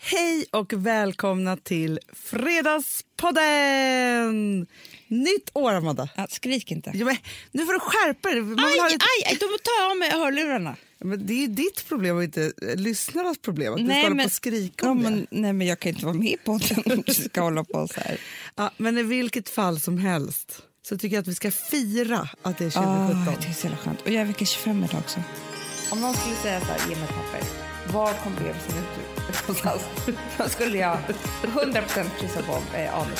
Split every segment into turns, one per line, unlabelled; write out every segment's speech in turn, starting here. Hej och välkomna till Fredagspodden! Nytt år, Amanda.
Ja, skrik inte.
Jo, men nu får du skärpa dig. Man vill
Aj,
ha lite...
aj, aj, då tar jag av mig hörlurarna.
men det är ju ditt problem och inte eh, lyssnarnas problem. Att du
Nej,
ska hålla på
men-
och skrika
Ja,
om det.
men, nej, men jag kan inte vara med i podden om du ska hålla på så här.
Ja, men i vilket fall som helst så tycker jag att vi ska fira att det är 2017.
Ah, jag tycker det är så jävla skönt. Och jag är vecka 25 idag också. Om någon skulle säga så här, ge mig papper. Var kom bebisen ut någonstans? Då skulle jag 100% kryssa på eh, anus.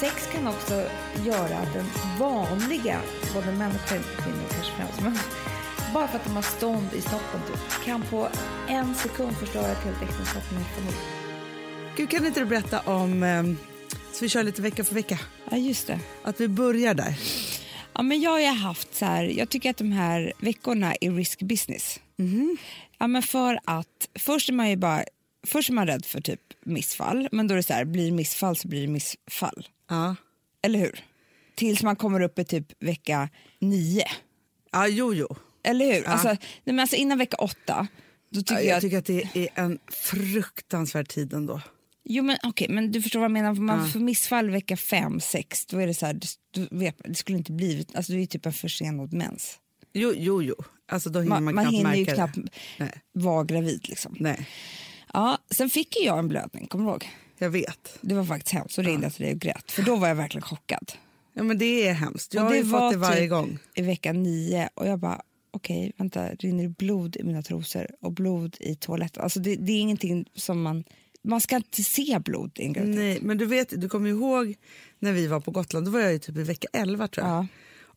Sex kan också göra att den vanliga, både män och kvin- kvinnor kanske främst, men bara för att de har stånd i snoppen typ, kan på en sekund förstöra ett helt äktenskap med en familj.
Gud, kan inte du berätta om... ehm, så vi kör lite vecka för vecka.
Ja, just det.
Att vi börjar där.
Ja, men jag har ju haft så här, jag tycker att de här veckorna är risk business. Ja, men för att först är man ju bara, först är man rädd för typ missfall, men då är det så här, blir det missfall så blir det missfall.
Ja.
Eller hur? Tills man kommer upp i typ vecka nio.
Ja, jo, jo.
Eller hur? Alltså, nej, men alltså innan vecka åtta, då tycker
Ja,
jag,
jag
att,
tycker att det är en fruktansvärd tid ändå.
jo men okej, men du förstår vad jag menar, för man får missfall vecka fem, sex, då är det så här, du, du vet, det skulle inte blivit, alltså du är typ en försenad mens.
Jo, jo, jo. Alltså då hinner man,
Man, man
knappt
hinner ju
märka
knappt
det. Nej,
vara gravid liksom.
nej,
Ja, sen fick ju jag en blödning, kommer du ihåg?
jag vet.
Det var faktiskt hemskt, så ringde jag till dig och grät. För då var jag verkligen chockad.
Ja, men det är hemskt. Jag
och
har ju fått det varje
typ
gång.
i vecka nio och jag bara, okej, vänta, rinner det blod i mina trosor och blod i toaletten? Alltså det, det är ingenting som man, man ska inte se blod i en graviditet.
Nej, men du vet, du kommer ju ihåg när vi var på Gotland. Då var jag ju typ i vecka 11 tror jag.
Ja.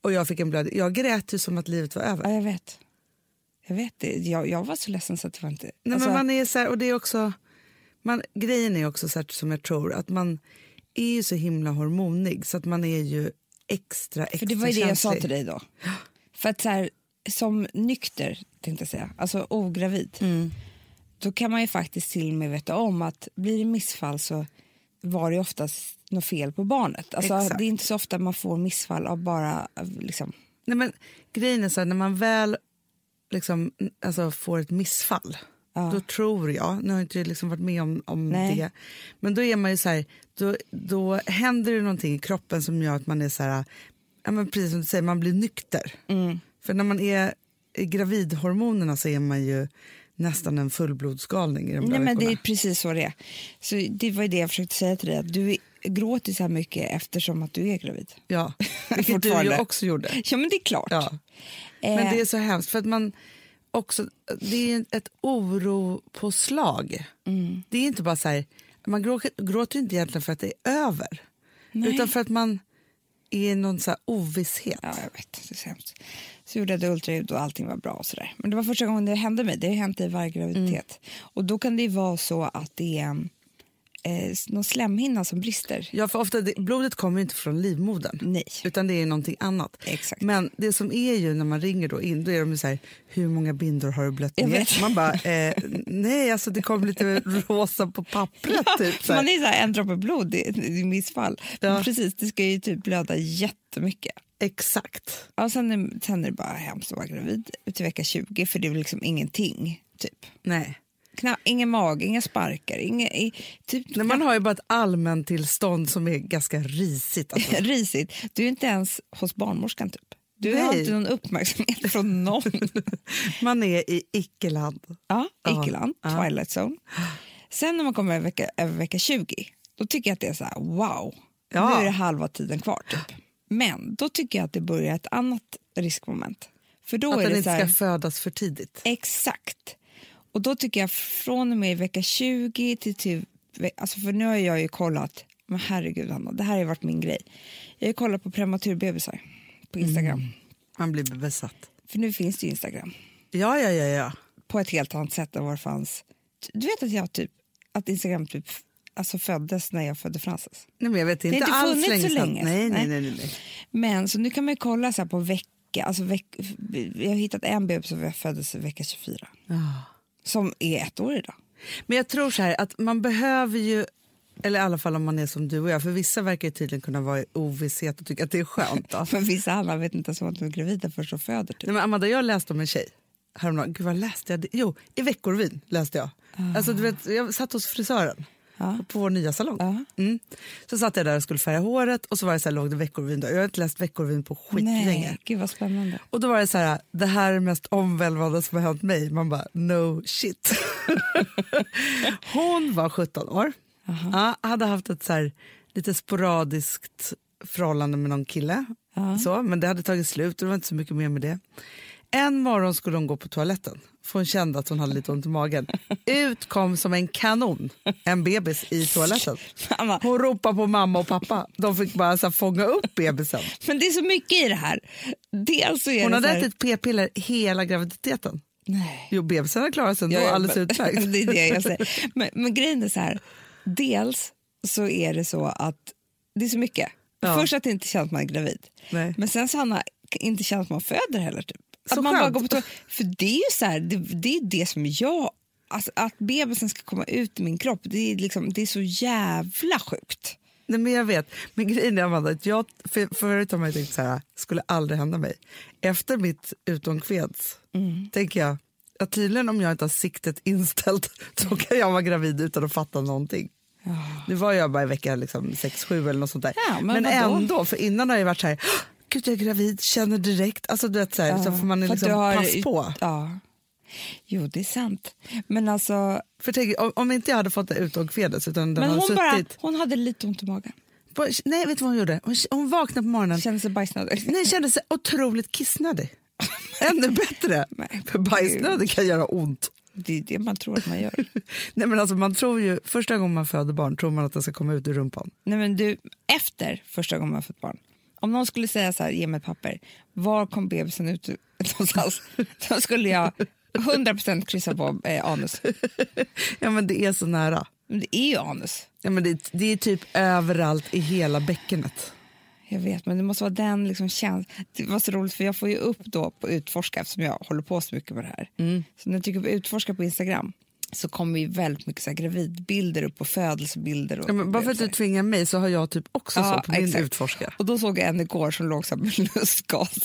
Och jag fick en blödning. Jag grät ju som att livet var över.
Ja, jag vet. Jag vet det. Jag, jag var så ledsen så att det var inte...
Nej,
alltså,
men man är så här, och det är också, man, grejen är också så här, som jag tror, att man är ju så himla hormonig så att man är ju extra, extra
för det var ju det jag sa
känslig.
till dig då. För att så här, som nykter, tänkte jag säga, alltså ogravid. då kan man ju faktiskt till och med veta om att blir det missfall så var det ju oftast något fel på barnet. Alltså,
Exakt.
det är inte så ofta man får missfall av bara... av Liksom.
Nej, men grejen är så här, när man väl liksom, alltså, får ett missfall, då tror jag, nu har jag inte liksom varit med om, om
Nej.
det, men då är man ju så här, då, då händer det någonting i kroppen som gör att man är så här, ja, men precis som du säger, man blir nykter.
Mm.
För när man är i gravidhormonerna så är man ju nästan en fullblodsgalning i de där
Nej, men det är
veckorna.
precis så det är. Så det var ju det jag försökte säga till dig, att du gråter så här mycket eftersom att du är gravid.
Ja, vilket du ju
Fortfarande.
också gjorde.
Ja, men det är klart.
Ja.
Eh,
Men det är så hemskt för att man också, det är ett oropåslag.
Mm.
Det är inte bara så här, man gråter, gråter ju inte egentligen för att det är över. Utan för att man är i någon så här ovisshet.
Ja, jag vet. Det är så hemskt. Så gjorde jag det ultraljud och allting var bra och sådär. Men det var första gången det hände mig. Det har hänt i varje graviditet.
Mm.
Och då kan det ju vara så att det är eh, någon slemhinna som brister.
Ja, för ofta det, blodet kommer ju inte från livmodern.
Nej.
Utan det är någonting annat.
Exakt.
Men det som är ju när man ringer då in, då är de ju så här, hur många bindor har du blött
Jag
ner?
vet.
Man bara, eh, nej alltså det kom lite rosa på pappret typ. Så här.
Man är så här, en droppe blod, det är det är missfall.
Ja.
Men precis, det ska ju typ blöda jättemycket.
Exakt.
Ja, och sen, är, sen är det bara hemskt att vara gravid till vecka 20 för det är väl liksom ingenting. Typ.
Nej.
Kna, ingen mag, inga sparkar, inga, i, typ
Nej, man har ju bara ett allmänt tillstånd som är ganska risigt. Alltså.
risigt. Du är inte ens hos barnmorskan typ. Du har
Nej.
inte någon uppmärksamhet från någon.
Man är i icke-land.
ja,
Ja,
Ekeland, Twilight Zone. Sen när man kommer över vecka, över vecka 20, då tycker jag att det är så här, wow,
Ja.
nu är det halva tiden kvar typ. Men då tycker jag att det börjar ett annat riskmoment. För då
Att
är
den
det så
inte
här,
ska födas för tidigt.
Exakt. Och då tycker jag från och med vecka 20 till typ, alltså för nu har jag ju kollat, men herregud Hanna, det här har ju varit min grej. Jag har ju kollat på prematurbebisar på Instagram,
Mm. Man blir besatt.
för nu finns det ju Instagram
Ja, ja, ja. ja.
på ett helt annat sätt än vad det fanns. Du vet att jag typ, att Instagram typ, alltså föddes när jag födde Frances.
Nej, men jag vet inte,
inte
alls
funnits
länge
så
sedan.
länge.
Nej, nej,
Nej.
nej, nej, nej.
Men så nu kan man ju kolla så här på vecka, alltså veck, jag har hittat en bebis som föddes i vecka 24, Ah.
Ja.
som är ett år idag.
Men jag tror så här att man behöver ju, eller i alla fall om man är som du och jag, för vissa verkar ju tydligen kunna vara i ovisshet och tycka att det är skönt. Då.
Men vissa andra vet inte ens om att de är gravida först och föder typ.
Nej, men Amanda, jag läste om en tjej häromdagen, gud vad läste jag det? Jo, i Veckorvin läste jag. Alltså, du vet, jag satt hos frisören på vår nya salong. Mm. Så satt jag där och skulle färga håret och så var det så här, låg det Veckorvin där. Jag har inte läst Veckorvin på skitlänge.
Nej, gud vad spännande.
Och då var det så här, det här är mest omvälvande som har hänt mig. Man bara, no shit. Hon var 17 år, ja, hade haft ett så här, lite sporadiskt förhållande med någon kille. Så, men det hade tagit slut och det var inte så mycket mer med det. En morgon skulle hon gå på toaletten, för hon kände att hon hade lite ont i magen. Ut kom som en kanon, en bebis i toaletten.
Mamma.
Hon ropade på mamma och pappa. De fick bara så här, fånga upp bebisen.
Men det är så mycket i det här. Dels så är
Hon
det
hade
så här,
ätit p-piller hela graviditeten.
Nej.
Jo, bebisen har klarat sig ändå
Ja, ja,
alldeles
men-
utmärkt.
det är det jag säger. Men, men grejen är så här, dels så är det så att det är så mycket.
Ja.
Först att det inte känns att man är gravid,
Nej.
men sen så har man inte känns att man föder heller. Typ.
Så
att man bara
skönt.
går på toa- För det är ju så här, det, det är det som jag... Alltså att bebisen ska komma ut i min kropp, det är, liksom, det är så jävla sjukt.
Nej, men jag vet. Men grejen är Amanda, att jag, för, förut har man ju tänkt så här, skulle aldrig hända mig. Efter mitt utomkveds
Mm.
tänker jag att tydligen om jag inte har siktet inställt så kan jag vara gravid utan att fatta någonting. Nu var jag bara i vecka liksom, sex, sju eller något sånt där.
Ah. Ja, men vadå?
ändå, för innan har jag varit så här, "Åh, gud jag är gravid, känner direkt. Alltså du vet så här, så får man
För att
liksom
du har-
pass på.
Ja. Jo, det är sant. Men alltså...
För tänk, om, om inte jag hade fått det utomkvedes utan den
Men
hade
hon,
suttit.
bara, hon hade lite ont i magen.
På, nej, vet du vad hon gjorde? Hon, hon vaknade på morgonen
Kände sig bajsnödig.
Nej, kände sig otroligt kissnödig. Ännu bättre,
Men
för bajsnödig kan göra ont.
Det är det man tror att man gör.
Nej, men alltså, man tror ju, första gången man föder barn tror man att den ska komma ut ur rumpan.
Nej, men du, efter första gången man fått barn, om någon skulle säga så här, ge mig ett papper, var kom bebisen ut ur- någonstans? Då skulle jag 100% kryssa på eh, anus.
Ja, men det är så nära.
Men det är ju anus.
Ja, men det, det är typ överallt i hela bäckenet.
Jag vet, men det måste vara den liksom känslan. Det var så roligt, för jag får ju upp då på Utforska, eftersom jag håller på så mycket med det här.
Mm.
Så när jag trycker på Utforska på Instagram så kommer ju väldigt mycket så här gravidbilder upp och födelsebilder. Och
Ja, men bara för att du tvingar mig så har jag typ också så på min
exakt.
utforska.
Och då såg jag en igår som låg så här med lustgas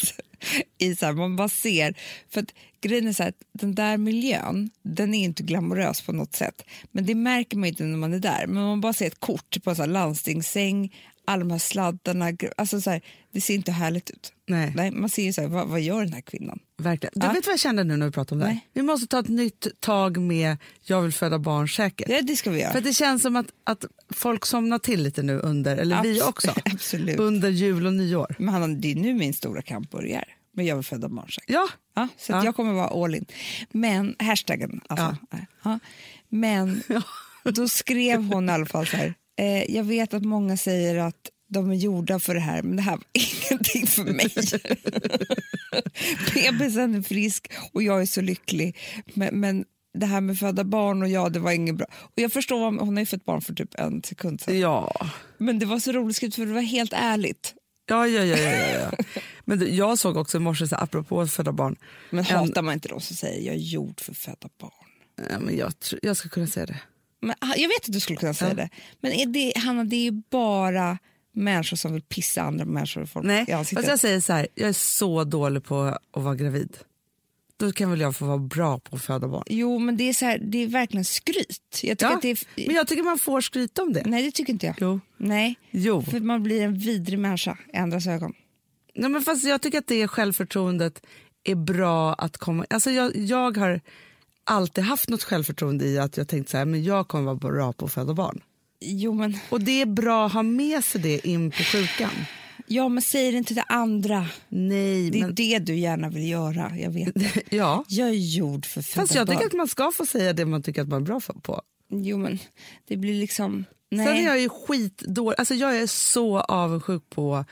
i så här, man bara ser. För att grejen är så här, att den där miljön, den är inte glamorös på något sätt. Men det märker man ju inte när man är där. Men man bara ser ett kort på en så här landstingssäng, alla de här sladdarna. gr- Alltså så här, det ser inte härligt ut.
Nej.
man ser ju så här, vad, vad gör den här kvinnan?
Verkligen. Du
Ja.
vet vad jag kände nu när vi pratade om det här?
Nej.
Vi måste ta ett nytt tag med jag vill föda barn säkert.
Ja, det ska vi göra.
För det känns som att, att folk somnar till lite nu under, eller vi
Abs-
också,
Absolut.
under jul och nyår.
Men Hanna, det är nu min stora kamp börjar. Men jag vill föda barn säkert.
Ja,
Ja, så att
Ja.
jag kommer vara all in. Men, hashtaggen alltså. Ja. Men då skrev hon i alla fall så här. Eh, jag vet att många säger att de är gjorda för det här, men det här var ingenting för mig. Bebisen är frisk och jag är så lycklig. Men, men det här med föda barn och jag, det var inget bra. Och jag förstår, vad- hon har ju fött barn för typ en sekund sedan.
Ja.
Men det var så roligt skrivet för det var helt ärligt.
Ja, ja, ja, ja, ja, ja. Men du, jag såg också i morse, så här, apropå att föda barn.
Men
En-
hatar man inte de som säger jag är gjord för föda barn?
Ja, men jag, tr- jag ska kunna säga det.
Men, ah, jag vet att du skulle kunna säga det, men är det, Hanna, det är ju bara människor som vill pissa andra människor i folk
Nej,
i
fast
ansiktet.
jag säger så här, jag är så dålig på att vara gravid. Då kan väl jag få vara bra på att föda barn.
Jo, men det är, så här, det är verkligen skryt. Jag tycker
Ja,
att det är,
men jag tycker man får skryta om det.
Nej, det tycker inte jag.
Jo.
Nej,
Jo.
för man blir en vidrig människa i andras ögon.
Nej, men fast jag tycker att det självförtroendet är bra att komma... Alltså jag, jag har alltid haft något självförtroende i att jag tänkt så här, men jag kommer vara bra på att föda barn.
Jo, men,
Och det är bra att ha med sig det in på sjukan.
ja, men säg det inte till andra.
Nej,
Det är
men...
det du gärna vill göra, jag vet.
Ja.
Jag är gjord för föda
Fast jag
barn.
tycker att man ska få säga det man tycker att man är bra för- på.
Jo, men det blir liksom... Nej.
Sen är jag ju skitdålig. Alltså jag är så avundsjuk på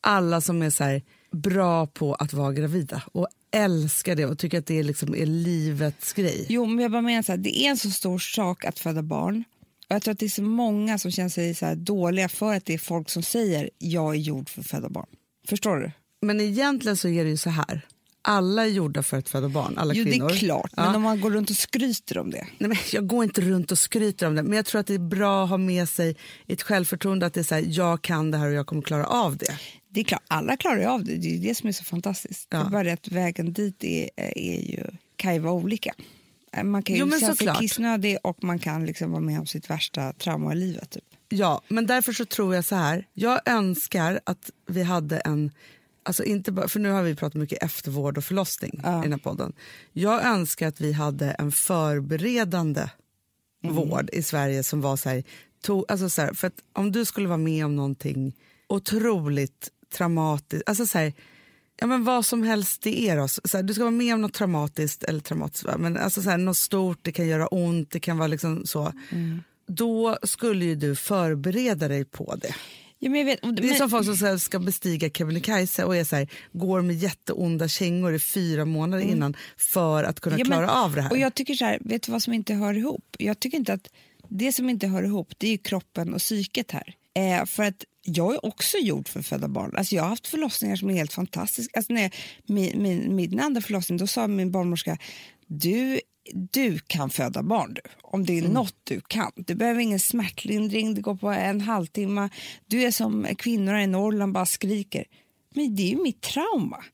alla som är så här bra på att vara gravida och älskar det och tycker att det liksom är livets grej.
Jo, men jag bara menar så här, det är en så stor sak att föda barn. Och jag tror att det är så många som känner sig så här dåliga för att det är folk som säger jag är gjord för att föda barn. Förstår du?
Men egentligen så är det ju så här. Alla är gjorda för att föda barn, alla
Jo, det
kvinnor.
är klart.
Ja.
Men om man går runt och skryter om det.
Nej, men jag går inte runt och skryter om det, men jag tror att det är bra att ha med sig ett självförtroende att det är så här, jag kan det här och jag kommer klara av det.
Det är klart, alla klarar ju av det. Det är ju det som är så fantastiskt. Det är bara det att vägen dit är, är ju kan ju vara olika. Eh, Man kan ju
Jo, men
känna sig
såklart.
kissnödig och man kan liksom vara med om sitt värsta trauma i livet. Typ.
Ja, men därför så tror jag så här. Jag önskar att vi hade en... Alltså inte bara, för nu har vi pratat mycket eftervård och förlossning i den här podden. Jag önskar att vi hade en förberedande
Mm.
vård i Sverige som var så här... To, alltså så här för att om du skulle vara med om någonting otroligt traumatiskt, alltså så här, ja men vad som helst det är då. Så så här, du ska vara med om något traumatiskt eller traumatiskt, va? men alltså så här, något stort, det kan göra ont, det kan vara liksom så.
Mm.
Då skulle ju du förbereda dig på det.
Ja, men jag vet, och-
Det är
men-
som folk som så här, ska bestiga Kebnekaise och är så här, går med jätteonda kängor i fyra månader innan för att kunna
Mm. Ja, men-
klara av det här.
Och jag tycker så här, vet du vad som inte hör ihop? Jag tycker inte att det som inte hör ihop, det är ju kroppen och psyket här. Eh, för att jag är också gjord för att föda barn. Alltså jag har haft förlossningar som är helt fantastiska. Alltså när jag, min, min, min andra förlossning, då sa min barnmorska, du, du kan föda barn du. Om
Mm.
det är något du kan. Du behöver ingen smärtlindring, det går på en halvtimme. Du är som kvinnor i Norrland, bara skriker. Men det är ju mitt trauma.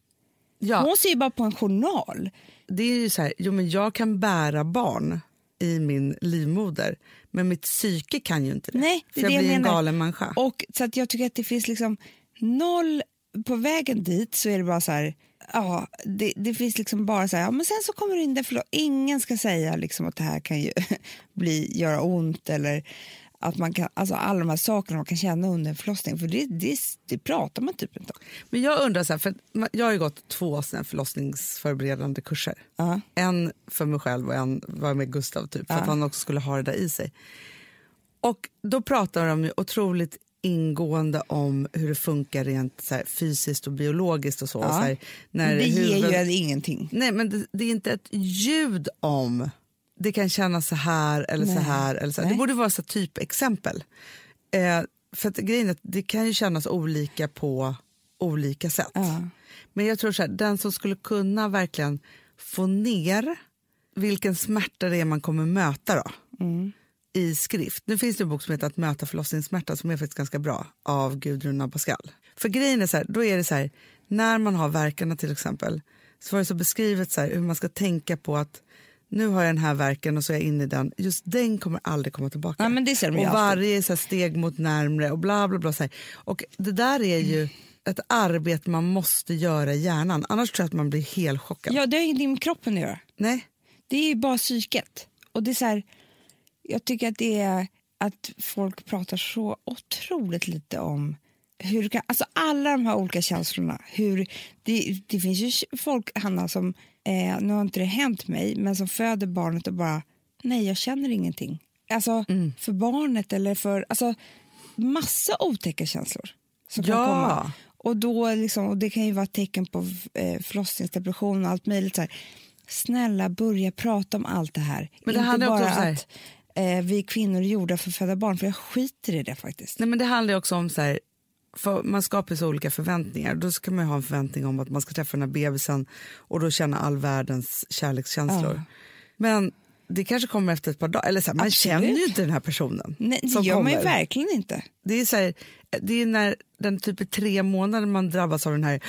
ja.
Hon ser ju bara på en journal.
det är ju så här, jo men jag kan bära barn i min livmoder, men mitt psyke kan ju inte det.
Nej, det är
för jag
det jag
blir en
menar.
galen människa.
Och, så att jag tycker att det finns liksom noll... På vägen dit så är det bara så här... Ja, det, det finns liksom bara så här, ja, men sen så kommer du in där, förlåt, ingen ska säga liksom att det här kan ju bli, göra ont eller att man kan, alltså alla de här sakerna man kan känna under en förlossning, för det, det, det pratar man typ inte om.
Men jag undrar så här, för att jag har ju gått två såna här förlossningsförberedande kurser.
Ja.
En för mig själv och en var med Gustav typ, för att han också skulle ha det där i sig. Och då pratar de ju otroligt ingående om hur det funkar rent så här, fysiskt och biologiskt och så. så här, när
det ger
huvud-
ju en ingenting.
Nej, men det, det är inte ett ljud om det kan kännas så här eller så här. Eller så här. Det
Nej.
borde vara så här typexempel. Eh, för att grejen är att det kan ju kännas olika på olika sätt.
Ja.
Men jag tror så här, den som skulle kunna verkligen få ner vilken smärta det är man kommer möta då, i skrift. Nu finns det en bok som heter Att möta förlossningssmärta som är faktiskt ganska bra av Gudrun Abascal. För grejen är så här, då är det så här, när man har verkarna till exempel så var det så beskrivet så här, hur man ska tänka på att nu har jag den här verken och så är jag inne i den. Just den kommer aldrig komma tillbaka.
Ja, men det ser de ju
och
alltid.
varje så här, steg mot närmre och bla bla bla. Så här. Och det där är ju ett arbete man måste göra i hjärnan. Annars tror jag att man blir helt chockad.
Ja, det har ju ingenting med kroppen att göra.
Nej?
Det är ju bara psyket. Och det är så här, jag tycker att det är att folk pratar så otroligt lite om hur du kan, alltså alla de här olika känslorna. Hur, det, det finns ju folk, Hanna, som, eh, nu har inte det hänt mig, men som föder barnet och bara, nej jag känner ingenting. Alltså
Mm.
för barnet eller för, alltså massa otäcka känslor som kan
Ja.
komma. Och, då liksom, och det kan ju vara ett tecken på eh, förlossningsdepression och allt möjligt. Så här. Snälla, börja prata om allt det här.
Men det
Inte
handlar ju också
bara
om så här-
att eh, vi kvinnor är gjorda för att föda barn, för jag skiter i det faktiskt.
Nej, men det handlar ju också om så här, för man skapar så olika förväntningar. Då ska man ju ha en förväntning om att man ska träffa den här bebisen och då känna all världens kärlekskänslor. Men det kanske kommer efter ett par dagar. Eller så här, man
Absolut.
känner ju inte den här personen.
Nej, det
som
gör man ju
kommer.
verkligen inte.
det är, så här, det är när den typ i tre månader man drabbas av den här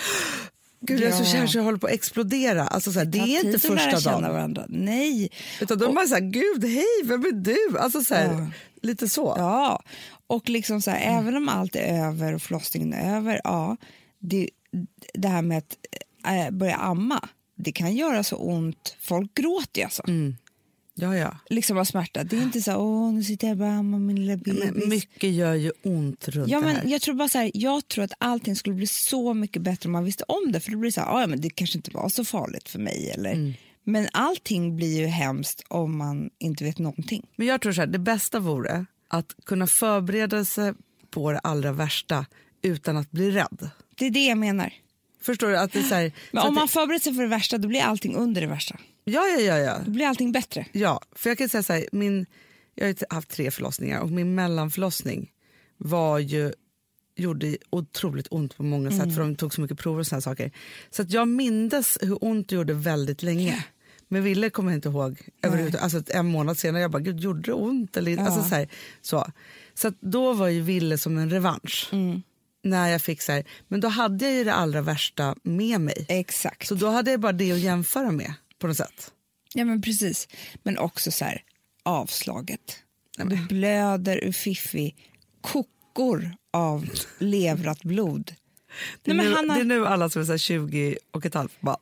Gud, jag är så
Ja.
kär så jag håller på att explodera. Alltså, så här, det
Ta
är
tid
inte
att lära
första
känna
dagen.
varandra. Nej.
Utan då är man så här, gud, hej, vem är du? Alltså, så här,
Ja.
Lite så.
Ja, och liksom så här,
Mm.
även om allt är över och förlossningen är över, ja, det, det här med att eh, börja amma, det kan göra så ont. Folk gråter ju alltså.
Mm. Ja, ja.
Liksom av smärta. Det är inte så här, åh, nu sitter jag bara och ammar min lilla bebis.
Men mycket gör ju ont runt
Ja,
det här.
men jag, tror bara så här, jag tror att allting skulle bli så mycket bättre om man visste om det. För det blir det så här, "Ah, ja, men det kanske inte var så farligt för mig. Eller?
Mm.
Men allting blir ju hemskt om man inte vet någonting.
Men jag tror så här, det bästa vore att kunna förbereda sig på det allra värsta utan att bli rädd.
Det är det jag menar.
Förstår du? Att det är så här,
Men
så
om
att
man förbereder sig för det värsta, då blir allting under det värsta.
det, ja, ja, ja, ja.
Då blir allting bättre.
Ja, för jag kan säga så här, min, jag har ju haft tre förlossningar och min mellanförlossning var ju, gjorde otroligt ont på många sätt för de tog så mycket prover och såna saker. Så att jag mindes hur ont det gjorde väldigt länge. Men Ville kommer jag inte ihåg överhuvudtaget. Alltså en månad senare, jag bara, gud gjorde det ont? Eller, inte? alltså, så här, så så att då var ju Ville som en revansch. När jag fick så här, men då hade jag ju det allra värsta med mig.
Exakt.
Så då hade jag bara det att jämföra med på något sätt.
Ja, men precis. Men också så här, avslaget. Du blöder ur fiffi, kokor av levrat blod.
Det är,
Nej, men
nu,
han har,
det är nu alla som är så här 20 och ett halvt bara...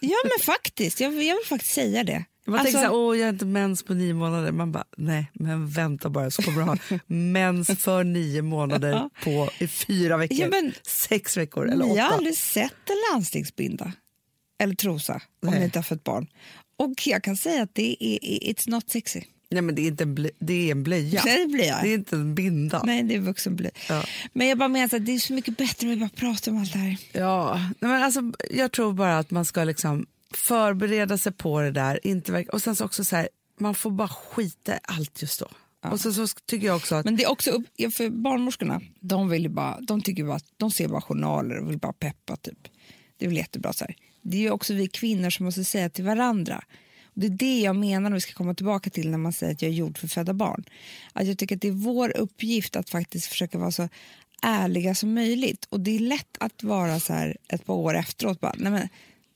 ja, men faktiskt. Jag, jag vill faktiskt säga det. Alltså,
Man tänker så här, åh jag har inte mens på nio månader. Man bara, nej men vänta bara så kommer du ha mens för nio månader på i fyra veckor,
Ja, men-
sex veckor eller
Ni
åtta.
har aldrig sett en landstingsbinda eller trosa om
Nej.
ni inte har fött barn. Och jag kan säga att det är, i- it's not sexy.
Nej men det är, inte en blö, det är en blöja,
Det blir jag.
det är inte en binda.
Nej, det är vuxenblöj.
Ja.
Men jag bara menar att det är så mycket bättre om vi bara pratar om allt det här.
Ja, nej, men alltså, jag tror bara att man ska liksom förbereda sig på det där. Inte verk- och sen så också så här, man får bara skita i allt just då. Och sen så sk- tycker jag också att,
Men det är också upp, ja, för barnmorskorna, de, vill ju bara, de, tycker ju bara, de ser bara journaler och vill bara peppa. Typ. Det är väl jättebra. Så här. Det är ju också vi kvinnor som måste säga till varandra. Och det är det jag menar när vi ska komma tillbaka till när man säger att jag är gjord för födda barn. Att jag tycker att det är vår uppgift att faktiskt försöka vara så ärliga som möjligt. Och det är lätt att vara så här ett par år efteråt bara, nej men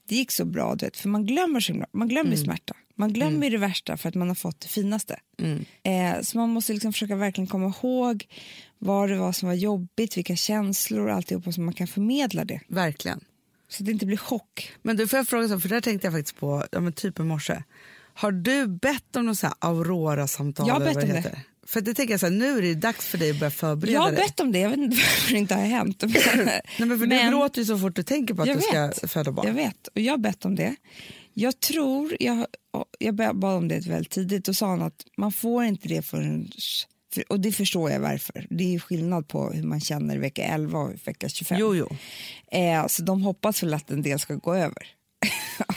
det gick så bra, du vet. För man glömmer, så himla- man glömmer
Mm.
smärta. Man glömmer det värsta för att man har fått det finaste.
Mm.
Eh, så man måste liksom försöka verkligen komma ihåg vad det var som var jobbigt, vilka känslor och alltihopa så man kan förmedla det.
verkligen.
Så att det inte blir chock.
Men du får jag fråga, så, för det här tänkte jag faktiskt på ja, men typ i morse. Har du bett om någon så här Aurora-samtal?
Jag har
eller
bett
vad
om det.
heter? För det tänker jag så här, nu är det ju dags för dig att börja förbereda
Jag har
dig.
bett om det, jag vet inte varför det inte har hänt. Men,
Nej, men för Du gråter ju så fort du tänker på att
Jag
du ska
vet.
föda barn.
Jag vet, och jag har bett om det. Jag tror, jag, jag bad om det väldigt tidigt och sa han att man får inte det förrän... För, och det förstår jag varför. Det är ju skillnad på hur man känner i vecka 11 och i vecka 25.
Jo, jo.
Eh, så de hoppas väl att en del ska gå över av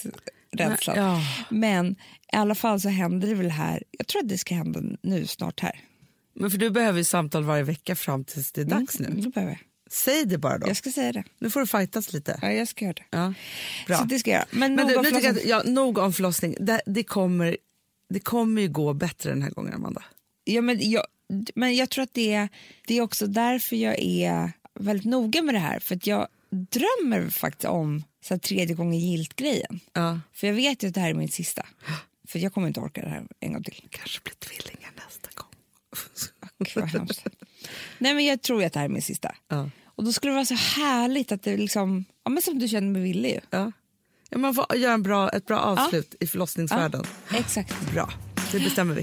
förlossningsrädslan.
Nej, ja.
Men i alla fall så händer det väl här. Jag tror att det ska hända nu snart här.
Men för du behöver ju samtal varje vecka fram tills
Mm.
det är dags nu.
Det behöver jag.
Säg det bara då.
jag ska säga det.
Nu får du fightas lite.
Ja, jag ska göra det.
Ja, bra.
Så det ska jag göra. Men,
Men
nog
du,
om
nu tycker jag att,
förlossning.
ja, nog om förlossning. Det, det, kommer, det kommer ju gå bättre den här gången, Amanda.
Ja, men, jag, men jag tror att det är, det är också därför jag är väldigt noga med det här. För att jag drömmer faktiskt om så här, tredje gången gilt-grejen.
Ja.
För jag vet ju att det här är min sista. För jag kommer inte orka det här en gång till.
Kanske blir tvillingar nästa gång.
Gud, vad hemskt. Nej, men jag tror ju att det här är min sista.
Ja.
Och då skulle det vara så härligt att det liksom, ja men som du känner med Ville ju.
Ja. Ja, man får göra en bra, ett bra avslut i förlossningsvärlden.
Exakt.
Bra, det bestämmer vi.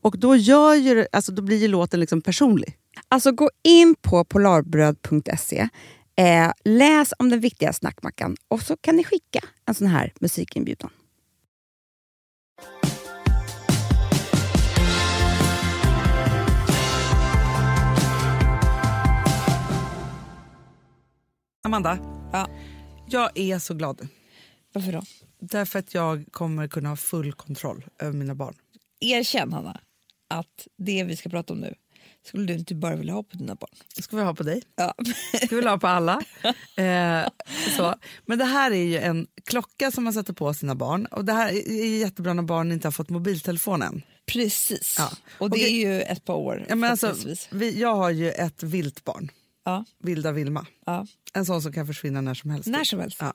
Och då, gör ju, det- alltså, då blir ju låten liksom personlig.
Alltså gå in på polarbröd.se, eh, läs om den viktiga snackmackan och så kan ni skicka en sån här musikinbjudan.
Amanda,
Ja.
jag är så glad.
Varför då?
Därför att jag kommer kunna ha full kontroll över mina barn.
Erkänn, Hanna, att det vi ska prata om nu skulle du inte bara vilja ha på dina barn.
Det ska vi ha på dig.
Ja.
Det ska vi ha på alla. Eh, så. Men det här är ju en klocka som man sätter på sina barn. Och Det här är ju jättebra när barn inte har fått mobiltelefon än.
Precis.
Ja.
Och det
Okej.
är ju ett par år.
Ja, men alltså,
förhoppningsvis.
vi, jag har ju ett vilt barn,
ja,
vilda Vilma.
ja.
En sån som kan försvinna när som helst.
När som helst.
Ja.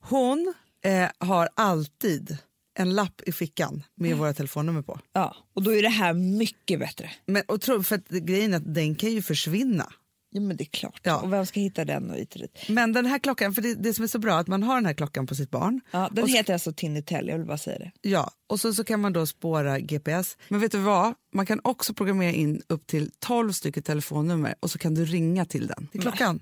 Hon eh, har alltid en lapp i fickan med
Mm.
våra telefonnummer på.
Ja. Och då är det här mycket bättre.
Men, och tro, för att grejen är att den kan ju försvinna.
Ja, men det är klart.
Ja.
Och vem ska hitta den och hit och dit?
Men den här klockan, för det, det som är så bra är att man har den här klockan på sitt barn.
Ja, den
och, så-
heter alltså Tinny Tell, jag vill bara säga det.
ja, och så, så kan man då spåra GPS. Men vet du vad? Man kan också programmera in upp till 12 stycken telefonnummer och så kan du ringa till den. Det är klockan.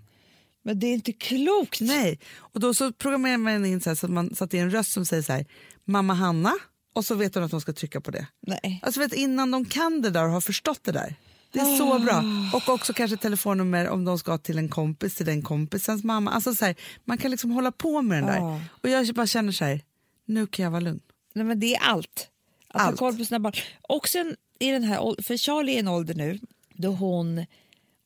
Men det är inte klokt!
Nej. Och då så programmerar man in så, här, så att man satt i en röst som säger så här, mamma Hanna. Och så vet hon att de ska trycka på det.
Nej.
Alltså vet, innan de kan det där och har förstått det där. Det är så bra. Och också kanske telefonnummer om de ska till en kompis, till den kompisens mamma. Alltså så här, man kan liksom hålla på med den där.
Ja.
Och jag bara känner så här, nu kan jag vara lugn.
Nej, men det är allt. Att
Allt.
ha koll på sina barn. Och sen i den här åld- för Charlie är i en ålder nu då hon,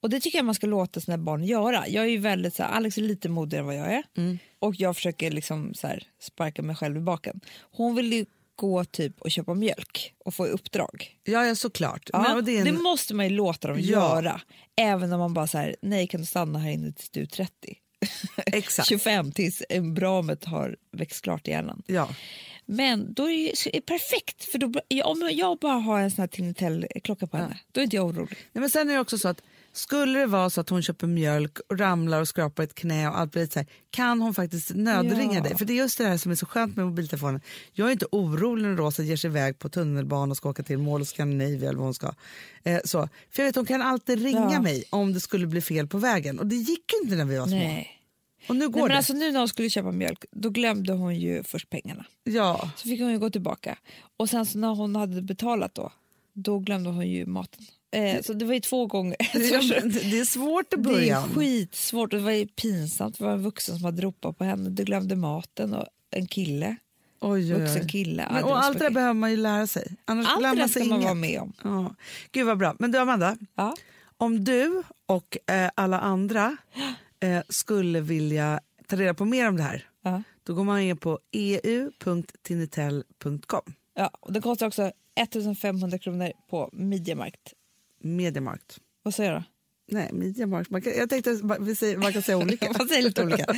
och det tycker jag man ska låta sina barn göra. Jag är ju väldigt så här, Alex är lite modigare än vad jag är
Mm.
och jag försöker liksom så här, sparka mig själv i baken. Hon vill ju gå typ och köpa mjölk och få i uppdrag.
Ja, ja såklart.
Ah.
Ja,
Men, och det
det,
är en,
måste man ju låta dem
Ja.
göra. Även om man bara så här, nej kan du stanna här inne tills du är 30.
Exakt.
25 tills en bramet har växt klart i hjärnan.
ja.
Men då är det ju- så är det perfekt, för då, om jag bara har en sån här Tinnitel-klocka på henne, då är inte jag orolig.
Nej, men sen är det också så att skulle det vara så att hon köper mjölk och ramlar och skrapar ett knä och allt blir lite så här, kan hon faktiskt nödringa
Ja.
dig? För det är just det här som är så skönt med mobiltelefonen. Jag är inte orolig när Rosa ger sig iväg på tunnelbanan och ska åka till Mall of Scandinavia eller vad hon ska. Eh, så. För jag vet hon kan alltid ringa
Ja.
mig om det skulle bli fel på vägen och det gick ju inte när vi var små.
Nej.
Och nu går
Nej, men
det.
alltså, nu när hon skulle köpa mjölk, då glömde hon ju först pengarna.
ja.
Så fick hon ju gå tillbaka. Och sen så när hon hade betalat då, då glömde hon ju maten. Eh, så det var ju två gånger.
Ja, men Mm. det det är svårt i
Det är
början.
skitsvårt och det var ju pinsamt. Det var en vuxen som hade ropat på henne. Du glömde maten och en kille.
Oj, oj,
Vuxen
oj.
kille. Ja,
Men,
var
och allt det där
spökigt.
behöver man ju lära sig. Annars
allt
lär
det där
man
ska
sig
man vara
inget.
med om.
Ja. Gud vad bra. Men du Amanda,
Ja.
om du och eh, alla andra eh, skulle vilja ta reda på mer om det här,
Ja.
då går man in på e eu.tinitell.com.
Ja. Och det kostar också 1500 kronor på Mediamarkt.
Mediamarkt.
Vad säger du?
Nej, Mediamarkt. Man kan, jag tänkte att man- vi säger, man kan säga olika.
Man säger lite olika.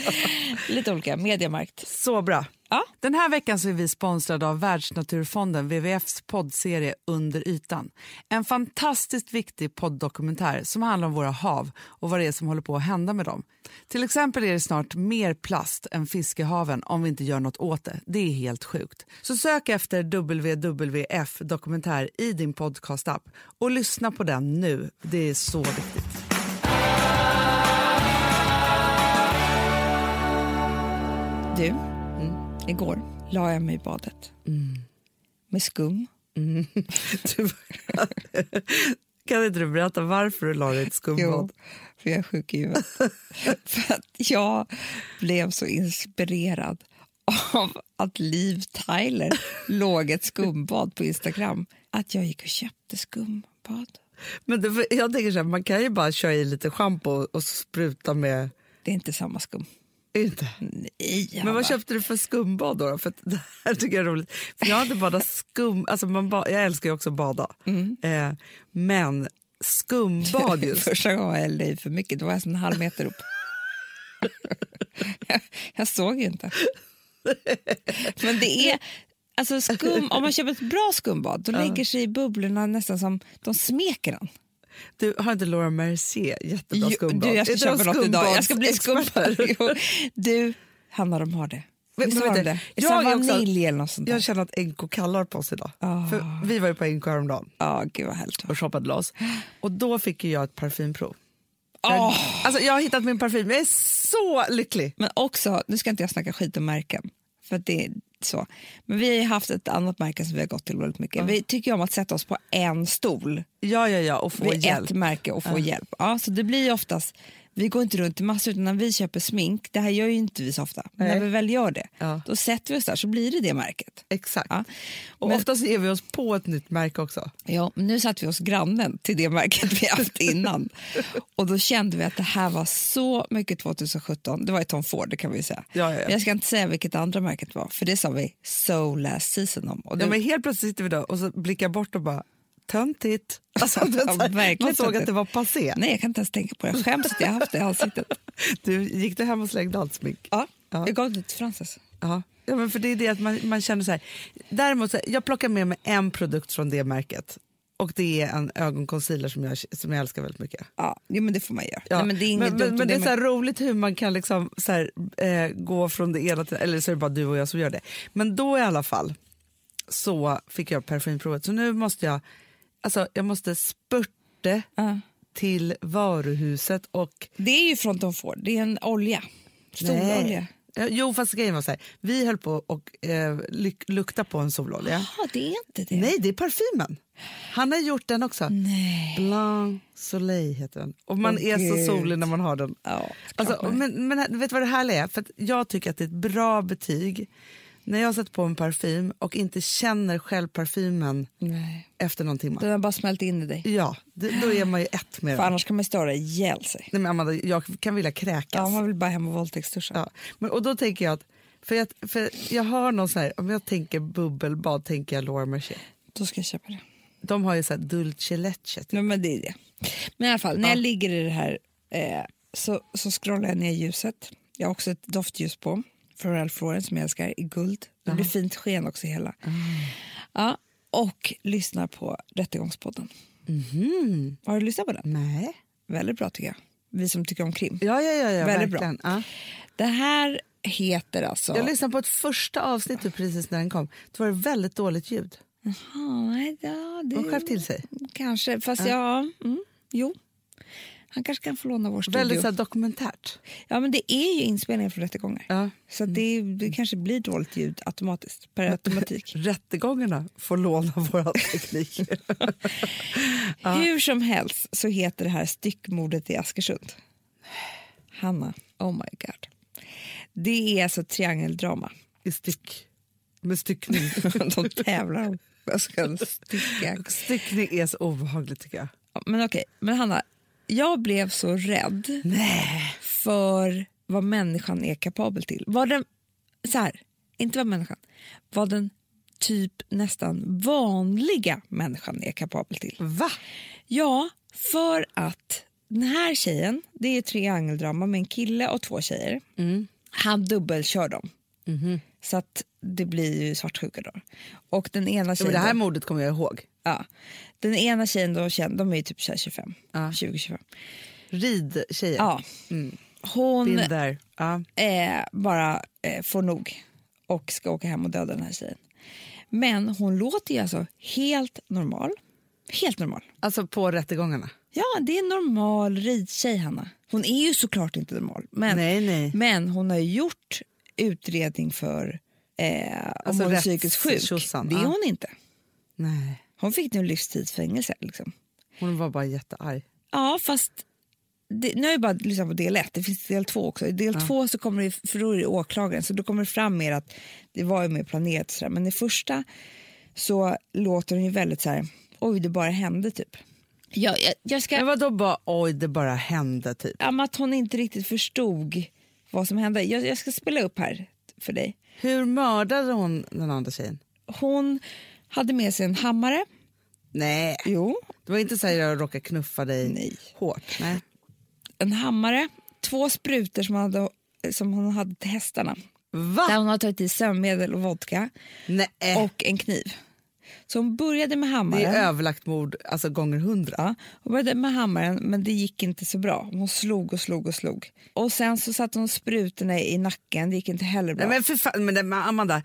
lite olika. Mediamarkt.
Så bra.
Ja.
Den här veckan så är vi sponsrade av Världsnaturfonden, WWFs poddserie Under ytan. En fantastiskt viktig podddokumentär som handlar om våra hav och vad det är som håller på att hända med dem. Till exempel är det snart mer plast än fisk i haven om vi inte gör något åt det. Det är helt sjukt. Så sök efter WWF dokumentär i din podcastapp och lyssna på den nu. Det är så viktigt.
Du, mm, igår la jag mig i badet. Med skum.
Mm. Du, kan inte du berätta varför du la dig i ett skumbad?
för jag är sjuk i huvudet. för att jag blev så inspirerad av att Liv Tyler låg ett skumbad på Instagram att jag gick och köpte skumbad.
Men det, för jag tänker så här, man kan ju bara köra i lite schampo och, och spruta med...
Det är inte samma skum.
Inte.
Nej,
Men
Hanna.
vad köpte du för skumbad då? då? För att det här tycker jag är roligt. För jag hade badat skum... Alltså man ba, jag älskar ju också att bada.
Mm.
Eh, men skumbad just.
Första gången jag hällde i för mycket, då var jag en halv meter upp. jag, jag såg ju inte. Men det är... Alltså skum, om man köper ett bra skumbad, då lägger sig bubblorna nästan som... De smeker en.
Du, har inte Laura Mercier jättebra
Jo,
skumbad?
Du, jag ska
Är det
köpa
de
något idag. Jag ska bli skumbad.
skumbadsexperter?
Jo. Du, Hanna, de har det.
Men-
Visst
men
har de
vet du,
det? Är
jag
det
är också-
vanilj eller något sånt där?
Jag känner att NK kallar på oss idag.
Ah.
För vi var ju på NK häromdagen.
Ja, gud vad härligt.
och shoppade loss. Och då fick ju jag ett parfymprov.
Åh!
Alltså jag har hittat min parfym, jag är så lycklig!
Men också, nu ska inte jag snacka skit om märken, för att det är så. Men vi har ju haft ett annat märke som vi har gått till väldigt mycket. Vi tycker ju om att sätta oss på en stol
Ja, ja, ja, och få
vid
hjälp.
ett märke och få hjälp. Ja, så det blir ju oftast, vi går inte runt i massor utan när vi köper smink, det här gör ju inte vi så ofta, men
Nej.
när vi väl gör det,
Ja.
då sätter vi oss där så blir det det märket.
Exakt.
Ja.
Och
Men-
oftast ger vi oss på ett nytt märke också.
Ja, men nu satt vi hos grannen till det märket vi haft innan. Och då kände vi att det här var så mycket 2017. Det var ju Tom Ford, det kan vi ju säga.
Ja, ja, ja.
Men Jag ska inte säga vilket andra märket var, för det sa vi so last season om. Och det,
Ja, men helt plötsligt sitter vi där och så blickar jag bort och bara töntigt. Alltså, du vet,
Ja,
så här,
verkligen
man såg
töntigt.
att det var passé.
Nej, jag kan inte ens tänka på det. Jag skäms att jag har haft det i ansiktet.
Du, gick du hem och slängde allt smink?
Ja,
Ja.
Jag gav det till Frances.
Ja. Ja, men för det är det att man, man känner så här. Däremot, så här, jag plockar med mig en produkt från det märket. Och det är en ögonconcealer som jag, som jag älskar väldigt mycket.
Ja, jo, men det får man göra.
Ja.
Nej, men det är inget
men,
dumt.
men,
om
men det är så
med-
här roligt hur man kan liksom så här, eh, gå från det ena till eller så är det bara du och jag som gör det. Men då i alla fall så fick jag parfymprovet. Så nu måste jag, alltså jag måste spurte
Ja.
till varuhuset och...
det är ju från Tom Ford. Det är en olja. Sololja.
Eh, Jo fast grejen var så här, vi höll på och eh, lyk- lukta på en sololja.
Ja, det är inte det.
Nej det är parfymen. Han har gjort den också.
Nej.
Blanc Soleil heter den. Och man
Åh,
är
Gud.
så solig när man har den.
Ja, klart
Alltså,
man är.
men, men vet du vad det härliga är? För att jag tycker att det är ett bra betyg när jag har satt på en parfym och inte känner själv parfymen
Nej.
efter någon timme.
Den har bara smält in i dig.
Ja, det, då är man ju ett med
För
den.
annars kan man störa ihjäl sig.
Nej, men Amanda, jag kan vilja
Ja,
kräkas.
man vill bara hem och våldtäktsduscha.
Ja. Men, och då tänker jag att, för jag, för jag hör någon så här, om jag tänker bubbelbad tänker jag Laura Mercier.
Då ska jag köpa det.
De har ju så här dulce lecce.
Nej, men det är det. Men i alla fall, när jag ligger i det här eh, så, så scrollar jag ner ljuset. Jag har också ett doftljus på från Ralph Lauren som jag älskar i guld. Det blir fint sken också i hela.
Mm.
Ja, och lyssnar på Rättegångspodden.
Mhm.
Har du lyssnat på den?
Nej.
Väldigt bra tycker jag. Vi som tycker om krim.
Ja, ja, ja, ja
Väldigt bra.
verkligen. Ja.
Det här heter alltså...
Jag lyssnade på ett första avsnitt typ precis när den kom. Då var det väldigt dåligt ljud.
Ja, nej, ja, det...
Hon skärpte till sig.
Kanske, fast ja. Mm, jo. Han kanske kan få låna vår studio.
Väldigt så här, dokumentärt.
Ja, men det är ju inspelningar från rättegångar.
Ja.
Så att det, det kanske blir dåligt ljud automatiskt, per automatik.
Rättegångarna får låna våra tekniker.
Hur som helst så heter det här styckmordet i Askersund. Hanna, oh my god. Det är alltså triangeldrama.
I styck. Med styckning.
De tävlar om vem som kan stycka.
styckning är så obehagligt tycker jag.
Ja, Men okej, men Hanna, jag blev så rädd för vad människan är kapabel till. Vad den, så här, inte vad människan, vad den typ nästan vanliga människan är kapabel till.
Va?
Ja, för att den här tjejen, det är triangeldrama med en kille och två tjejer. Han dubbelkör dem. Så att det blir ju svartsjuka då. Och den ena
Jo, men
tjejen,
det här
då,
mordet kommer jag ihåg.
ja, den ena tjejen då, känner- de är ju typ så här 25, 20-25.
Ridtjejen.
Ja. Hon
Been there. Ja.
eh, bara eh, får nog och ska åka hem och döda den här tjejen. Men hon låter ju alltså helt normal. Helt normal.
Alltså på rättegångarna.
Ja, det är en normal ridtjej, Hanna. Hon är ju såklart inte normal, men,
Nej, nej.
men hon har ju gjort utredning för eh, om
Alltså
hon är
rätts-
psykiskt sjuk.
tjosan,
det är
ja.
hon inte.
Nej.
Hon fick nu livstidsfängelse. Liksom.
Hon var bara jättearg.
Ja, fast det, nu har jag bara lyssnat på del ett. Det finns del två också. I del två så kommer det, för då är det åklagaren, så då kommer det fram mer att det var ju mer planerat. och sådär. Men i första så låter hon ju väldigt så här, oj det bara hände typ. Jag, jag, jag ska...
Men vadå bara oj det bara hände typ.
ja, men att hon inte riktigt förstod vad som hände. Jag, jag ska spela upp här för dig.
Hur mördade hon den andra tjejen?
Hon hade med sig en hammare.
Nej.
Jo.
Det var inte så här jag råkade knuffa dig
Nej.
hårt. Nej.
En hammare, två sprutor som, hade, som hon hade till hästarna.
Va?
Där hon hade tagit i sömnmedel och vodka.
Nej.
Och en kniv. Så hon började med
Eh. det är
hammaren.
överlagt mord alltså gånger hundra.
Ja, hon började med hammaren, men det gick inte så bra. Hon slog och slog och slog. Och sen så satte hon sprutorna i nacken. Det gick inte heller bra.
Nej, men för fan, men det, men Amanda,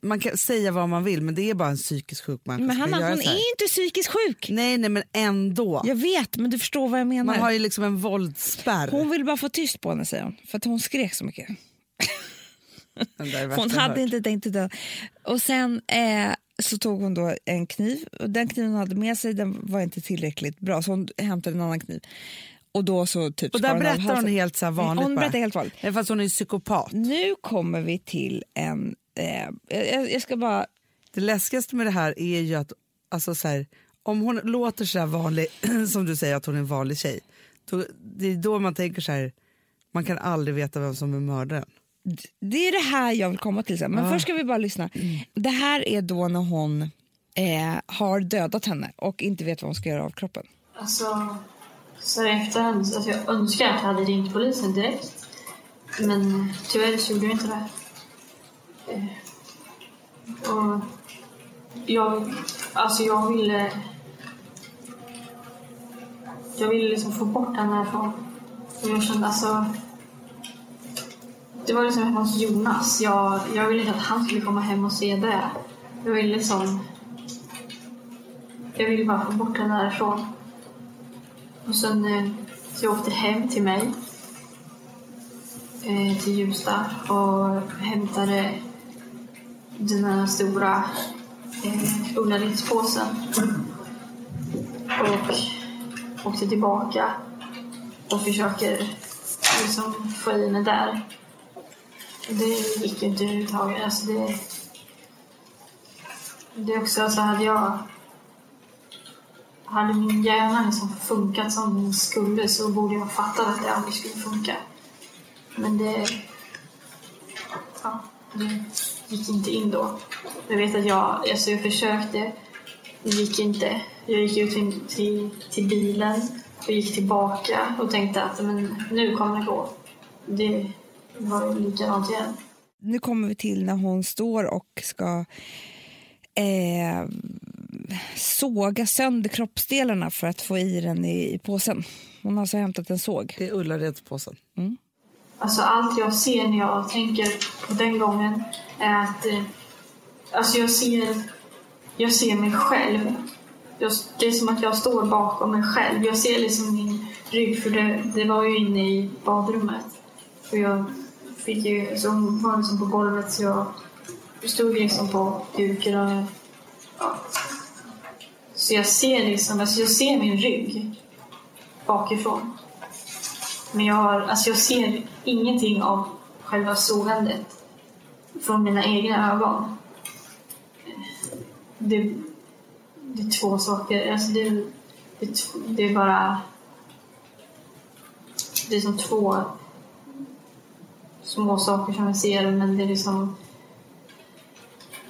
man kan säga vad man vill men det är bara en psykisk sjuk människa
men
som
Hanna,
kan göra
hon
så här.
är inte psykiskt sjuk.
Nej, nej men ändå.
Jag vet, men du förstår vad jag menar.
Man har ju liksom en våldsspärr.
Hon ville bara få tyst på henne, säger hon. För att hon skrek så mycket.
Den där är värst
Hon
jag
hade
hört.
inte tänkt dö. Och sen eh, så tog hon då en kniv. Och den kniven hon hade med sig den var inte tillräckligt bra, så hon hämtade en annan kniv. Och då så typ
Och
skar
där
hon av
berättar hon
halsen.
helt så här vanligt
Hon
bara.
berättar helt vanligt.
Nej, Fast hon är ju psykopat.
Nu kommer vi till en... Eh, jag, jag ska bara...
Det läskigaste med det här är ju att alltså så här, om hon låter så här vanlig, som du säger att hon är en vanlig tjej, då, det är då man tänker så här, man kan aldrig veta vem som är mördaren.
Det är det här jag vill komma till sen. Men först ska vi bara lyssna.
Mm.
Det här är då när hon eh, har dödat henne och inte vet vad hon ska göra av kroppen.
Alltså, så här i efterhand, alltså jag önskar att jag hade ringt polisen direkt. Men tyvärr så gjorde jag inte det. Eh, Och jag, alltså jag ville... Jag ville liksom få bort henne härifrån. Och jag kände alltså... Det var liksom hemma hos Jonas. Jag, jag ville inte att han skulle komma hem och se det. Jag ville liksom... Jag ville bara få bort henne härifrån. Och sen eh, så jag åkte hem till mig. Eh, till Ljusdal och hämtade den här stora eh, undanlidspåsen. Och åkte tillbaka och försöker liksom få i mig där. Det gick ju inte överhuvudtaget. Alltså det, det är också så hade jag hade min hjärna liksom funkat som den skulle så borde jag fattat att det aldrig skulle funka. Men det... Ja, det gick inte in då. Jag vet att jag, alltså jag försökte, det gick inte. Jag gick ut till, till, till bilen och gick tillbaka och tänkte att men, nu kommer det gå. Det var ju likadant igen.
Nu kommer vi till när hon står och ska eh, såga sönder kroppsdelarna för att få i den i, i påsen. Hon har alltså hämtat en såg.
Det är Ullaredspåsen.
Alltså allt jag ser när jag tänker på den gången är att eh, alltså jag, ser, jag ser mig själv. Jag, det är som att jag står bakom mig själv. Jag ser liksom min rygg för det, det var ju inne i badrummet. Och jag fick ju, så hon var liksom på golvet så jag stod liksom på duken och ja. Så jag ser liksom, alltså jag ser min rygg bakifrån. Men jag har, alltså jag ser ingenting av själva sågandet från mina egna ögon. Det, det är två saker, alltså det, det, det är bara det är som två små saker som jag ser men det är liksom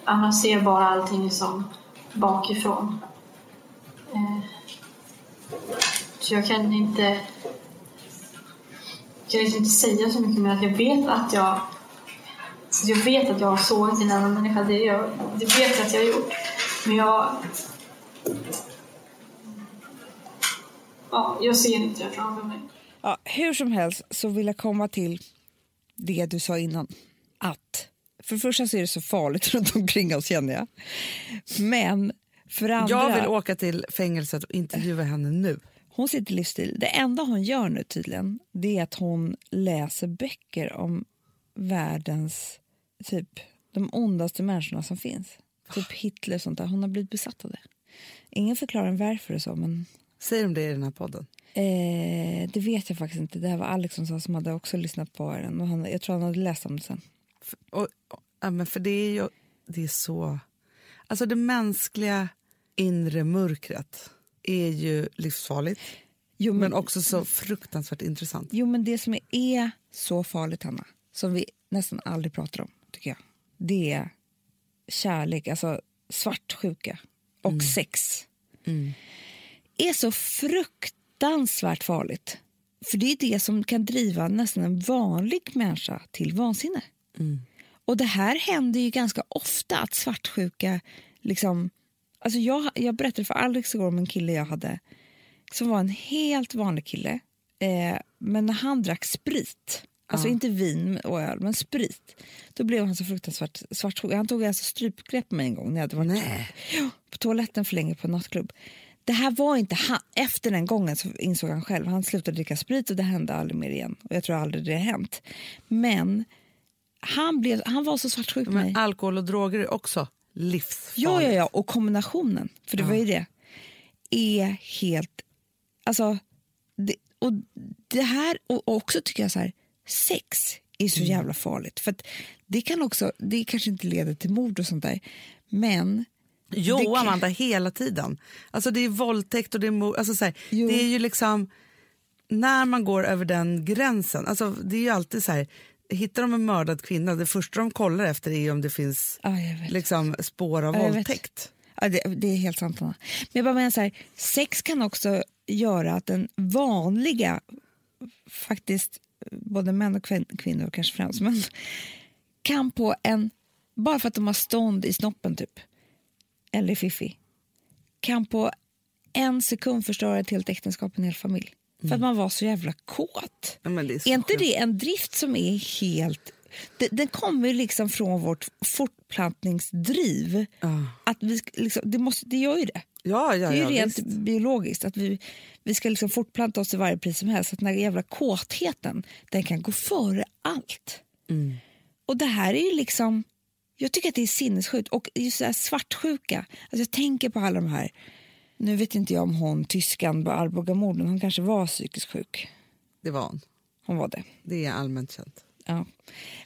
ja, man ser bara allting liksom bakifrån. Eh, så jag kan inte jag kan liksom inte säga så mycket mer att jag vet att jag alltså, jag vet att jag har sårat en annan människa, det, jag, det vet jag att jag har gjort. Men jag ja, jag ser inte det framför mig.
Ja, hur som helst så vill jag komma till det du sa innan. Att för det första så är det så farligt runt omkring oss känner jag. Men för det andra,
Jag vill åka till fängelset och intervjua henne nu.
hon sitter i livsstil. Det enda hon gör nu tydligen det är att hon läser böcker om världens typ de ondaste människorna som finns. Typ Hitler och sånt där. Hon har blivit besatt av det. Ingen förklarar varför och så men
Säger de det i den här podden?
Eh, det vet jag faktiskt inte. Det här var Alex som, sa, som hade också lyssnat på den. Och han, jag tror han hade läst om det sen.
För, och, och, ja, men för det är ju det är så... Alltså det mänskliga inre mörkret är ju livsfarligt
Jo men,
men också så fruktansvärt intressant.
jo, men det som är, är så farligt, Hanna, som vi nästan aldrig pratar om, tycker jag, det är kärlek, alltså svartsjuka och sex. är så fruktansvärt farligt. För det är det som kan driva nästan en vanlig människa till vansinne. Och det här händer ju ganska ofta att svartsjuka liksom... Alltså jag, jag berättade för Alex igår om en kille jag hade som var en helt vanlig kille. Eh, men när han drack sprit, alltså inte vin och öl, men sprit då blev han så fruktansvärt svartsjuk. Han tog alltså strypgrepp på mig en gång när jag hade varit Ja, på toaletten för länge på en nattklubb. Det här var inte han. Efter den gången så insåg han själv han slutade dricka sprit och det hände aldrig mer igen. Och jag tror aldrig det har hänt. Men han, blev, han var så svartsjuk på mig.
Men alkohol och droger är också livsfarligt.
Ja, ja, ja. Och kombinationen, för det var ju det, är helt... Alltså, det, och det här, och och också tycker jag så här, sex är så jävla farligt. För att det kan också, det kanske inte leder till mord och sånt där, men Det
Jo,
kan-
Amanda, hela tiden. Alltså det är våldtäkt och det är mord. Alltså, så här,
Jo.
det är ju liksom när man går över den gränsen. Alltså det är ju alltid så här, hittar de en mördad kvinna, det första de kollar efter är ju om det finns
ja, ah, jag vet.
liksom spår av
Ja, jag vet.
våldtäkt.
Ja, det, det är helt sant, Anna. Men jag bara menar så här, sex kan också göra att den vanliga, faktiskt både män och kvin- kvinnor kanske främst, men kan på en, bara för att de har stånd i snoppen typ, eller i fiffi, kan på en sekund förstöra ett helt äktenskap, en hel familj. För att man var så jävla kåt.
Ja, men det är så
Är inte
sjukt.
det en drift som är helt... Den, den kommer ju liksom från vårt fortplantningsdriv. Att vi, sk- liksom, det, måste, det gör ju det.
Ja, ja,
Det är ju
ja,
rent
visst.
biologiskt. Att vi, vi ska liksom fortplanta oss till varje pris som helst. Att den här jävla kåtheten den kan gå före allt.
Mm.
Och det här är ju liksom... Jag tycker att det är sinnessjukt. Och just det här svartsjuka. Alltså jag tänker på alla de här... Nu vet inte jag om hon, tyskan på Arbogamorden, hon kanske var psykiskt sjuk.
Det var hon.
Hon var det.
Det är allmänt känt.
Ja.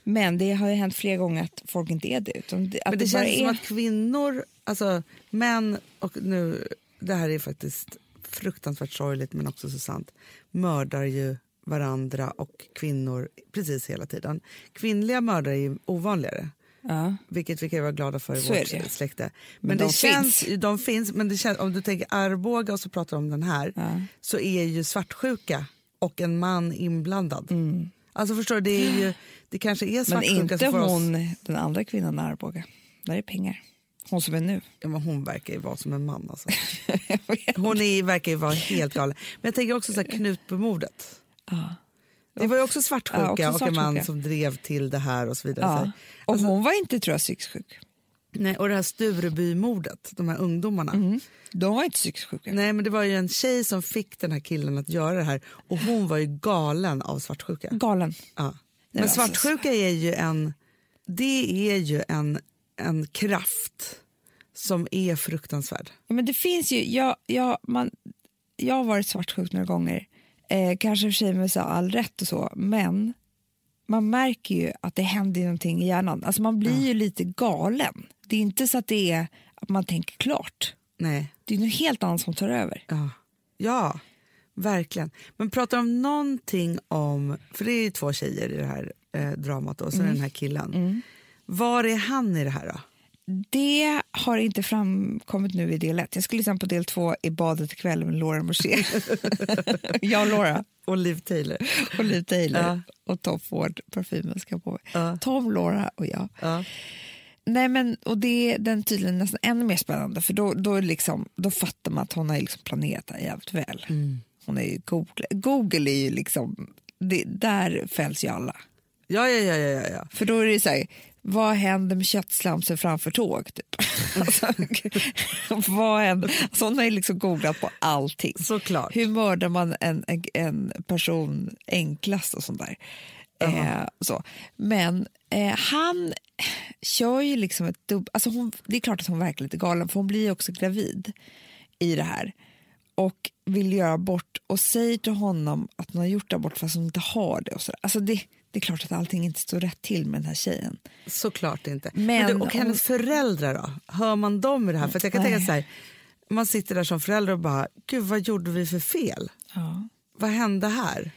Men det har ju hänt flera gånger att folk inte är det. Utan det att
Men det,
bara
känns
är...
som att kvinnor, alltså män och nu, det här är faktiskt fruktansvärt sorgligt men också så sant, mördar ju varandra och kvinnor precis hela tiden. Kvinnliga mördare är ju ovanligare.
Ja.
Vilket vi kan vara glada för i
Så är
vårt
det.
släkte. Men,
Men
det
de
känns, de finns. Men det känns, om du tänker Arboga och så pratar om den här så är ju svartsjuka och en man inblandad. Alltså förstår du, det, är ju, det kanske är
Mm. Men
svartsjuka
inte
som får oss...
hon, den andra kvinnan i Arboga. Där är pengar. Hon som är nu.
Ja, men hon verkar ju vara som en man. Alltså. Hon är, verkar ju vara helt galen. Men jag tänker också så här, Knutbymordet. Det var ju också svartsjuka,
Ja, också
och en man
svartsjuka.
som drev till det här och så vidare. Så
Ja.
här.
Och hon var inte tror jag psykiskt sjuk.
Nej, och det här Sturebymordet, de här ungdomarna.
Mm. De var inte psykiskt sjuka.
Mm. Nej, men det var ju en tjej som fick den här killen att göra det här och hon var ju galen av svartsjuka.
Galen.
Ja.
Det
Men
var Mm. alltså-
svartsjuka är ju en, det är ju en, en kraft som är fruktansvärd.
Ja, men det finns ju, jag, jag, man, jag har varit svartsjuk några gånger, eh, kanske i och för sig med så här all rätt och så, men man märker ju att det händer ju någonting i hjärnan. Alltså man blir ju lite galen. Det är inte så att det är att man tänker klart.
Nej.
Det är något helt annat som tar över.
Ja. ja, verkligen. Men pratar om någonting om, för det är ju två tjejer i det här eh, dramat och så är det den här killen. Var är han i det här då?
Det har inte framkommit nu i del ett. Jag ska lyssna på del två i badet ikväll med Laura Morsier. jag och Laura.
Och Liv Taylor.
och Liv Taylor
Ja.
och Tom Ford, parfymen ska jag på mig.
Ja.
Tom, Laura och jag.
Ja.
Nej, men, och det är den tydligen nästan ännu mer spännande för då, då, är det liksom, då fattar man att hon har ju liksom planerat det här jävligt väl.
Mm.
Hon är ju Google. Google är ju liksom, det, där fälls ju alla.
Ja, ja, ja, ja, ja, ja.
För då är det så här, vad händer med köttslamsen framför tåg? Typ. Alltså, vad händer? Alltså, hon har ju liksom googlat på allting.
Såklart.
Hur mördar man en, en, en person enklast och sånt där. Eh, så. Men eh, han kör ju liksom ett dubb... Alltså hon, det är klart att hon verkar lite galen, för hon blir ju också gravid i det här och vill göra abort och säger till honom att hon har gjort abort fast hon inte har det. Och så. där. Alltså det, det är klart att allting inte står rätt till med den här tjejen.
Såklart inte.
Men
Men, du, och hennes
hon-
föräldrar då? Hör man dem i det här? För att jag kan tänka
Nej.
så här, man sitter där som förälder och bara, gud vad gjorde vi för fel? Vad hände här?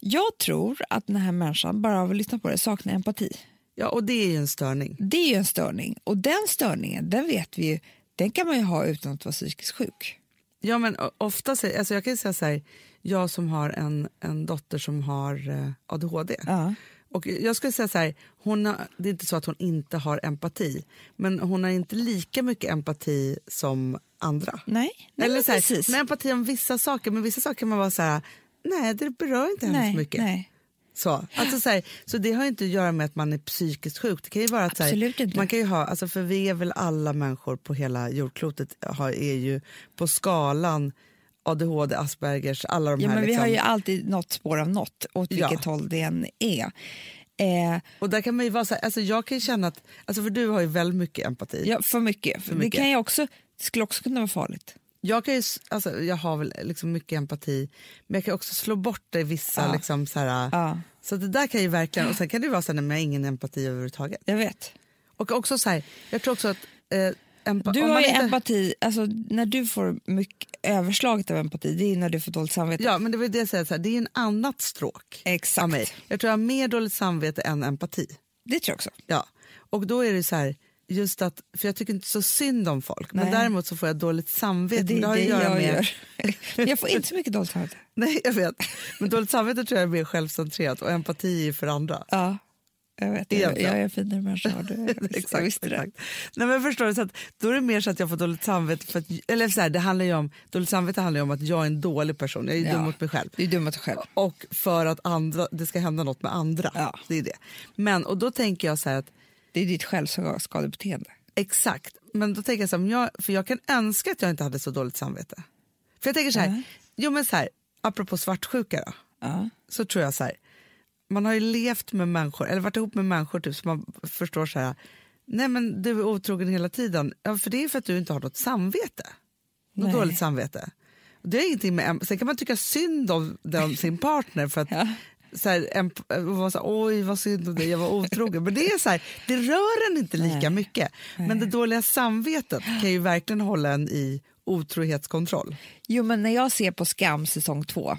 Jag tror att den här människan, bara av att lyssna på det, saknar empati.
Ja, och det är ju en störning.
Det är ju en störning. Och den störningen, den vet vi ju, den kan man ju ha utan att vara psykiskt sjuk.
Ja, men o- ofta, så- alltså jag kan ju säga så här, jag som har en, en dotter som har eh, ADHD.
Ja.
Och jag skulle säga så här, hon har, det är inte så att hon inte har empati, men hon har inte lika mycket empati som andra.
Nej, Mm. nej
Eller
men
så här,
precis.
hon har empati om vissa saker, men vissa saker kan man vara så här, nej det berör inte henne så mycket.
nej.
Så, alltså så, här, så det har ju inte att göra med att man är psykiskt sjuk. Det kan ju vara att så
Absolut inte.
här, man kan ju ha, alltså för vi är väl alla människor på hela jordklotet har, är ju på skalan ADHD, Aspergers, alla de
Ja,
här.
men vi
liksom.
har ju alltid något spår av något, åt
Ja.
vilket håll det än är. Eh,
Och där kan man ju vara så här, alltså jag kan ju känna att, alltså för du har ju väldigt mycket empati.
ja, för, mycket. Det
mycket.
kan jag också, det skulle också kunna vara farligt.
Jag, kan ju, s- alltså, jag har väl liksom mycket empati, men jag kan också slå bort det i vissa.
Ja.
Liksom, så här,
Ja.
så det där kan ju verkligen, och sen kan det ju vara så här, nej, men jag har ingen empati överhuvudtaget.
Jag vet.
Och också så här, jag tror också att eh, empa-
Du
om
har
man
ju
inte-
empati, alltså, när du får mycket överslaget av empati, det är när du får dåligt samvete.
Ja, men det var ju det jag säger, så här, det är ju en annat stråk.
Exakt.
av mig. Jag tror jag har mer dåligt samvete än empati.
Det tror jag också.
Ja. Och då är det så här, just att, för jag tycker inte så synd om folk,
Nej.
men däremot så får jag dåligt samvete.
Det
men
är
det har
det
ju att göra
jag
med,
gör. Men jag får inte så mycket dåligt samvete.
Nej, jag vet. Men dåligt samvete tror jag är mer självcentrerat och empati är ju för andra.
Ja, jag vet. Jag,
Egentligen.
jag är en finare människa. än vad Du, är. jag visste det.
exakt. Nej, men förstår du, så att, då är det mer så att jag får dåligt samvete. För att, eller så här, det handlar ju om, dåligt samvete handlar ju om att jag är en dålig person, jag är ju
Ja.
dum mot mig själv.
Du är dum mot dig själv.
och för att andra, det ska hända något med andra.
Ja.
Det är det. Men, och då tänker jag så här att,
Det är ditt självskadebeteende.
exakt, men då tänker jag så här, om jag, för jag kan önska att jag inte hade så dåligt samvete. För jag tänker så här, jo men så här, apropå svartsjuka då,
Ja.
så tror jag så här, man har ju levt med människor, eller varit ihop med människor typ, så man förstår så här, nej men du är otrogen hela tiden, ja för det är för att du inte har något samvete. Något
Nej.
dåligt samvete. Det är ingenting med, em- sen kan man tycka synd om den, sin partner för att så här, emp- och vara så här, oj vad synd om dig, jag var otrogen. Men det är så här, det rör en inte lika mycket. Men det dåliga samvetet kan ju verkligen hålla en i otrohetskontroll.
Jo, men när jag ser på Skam säsong två,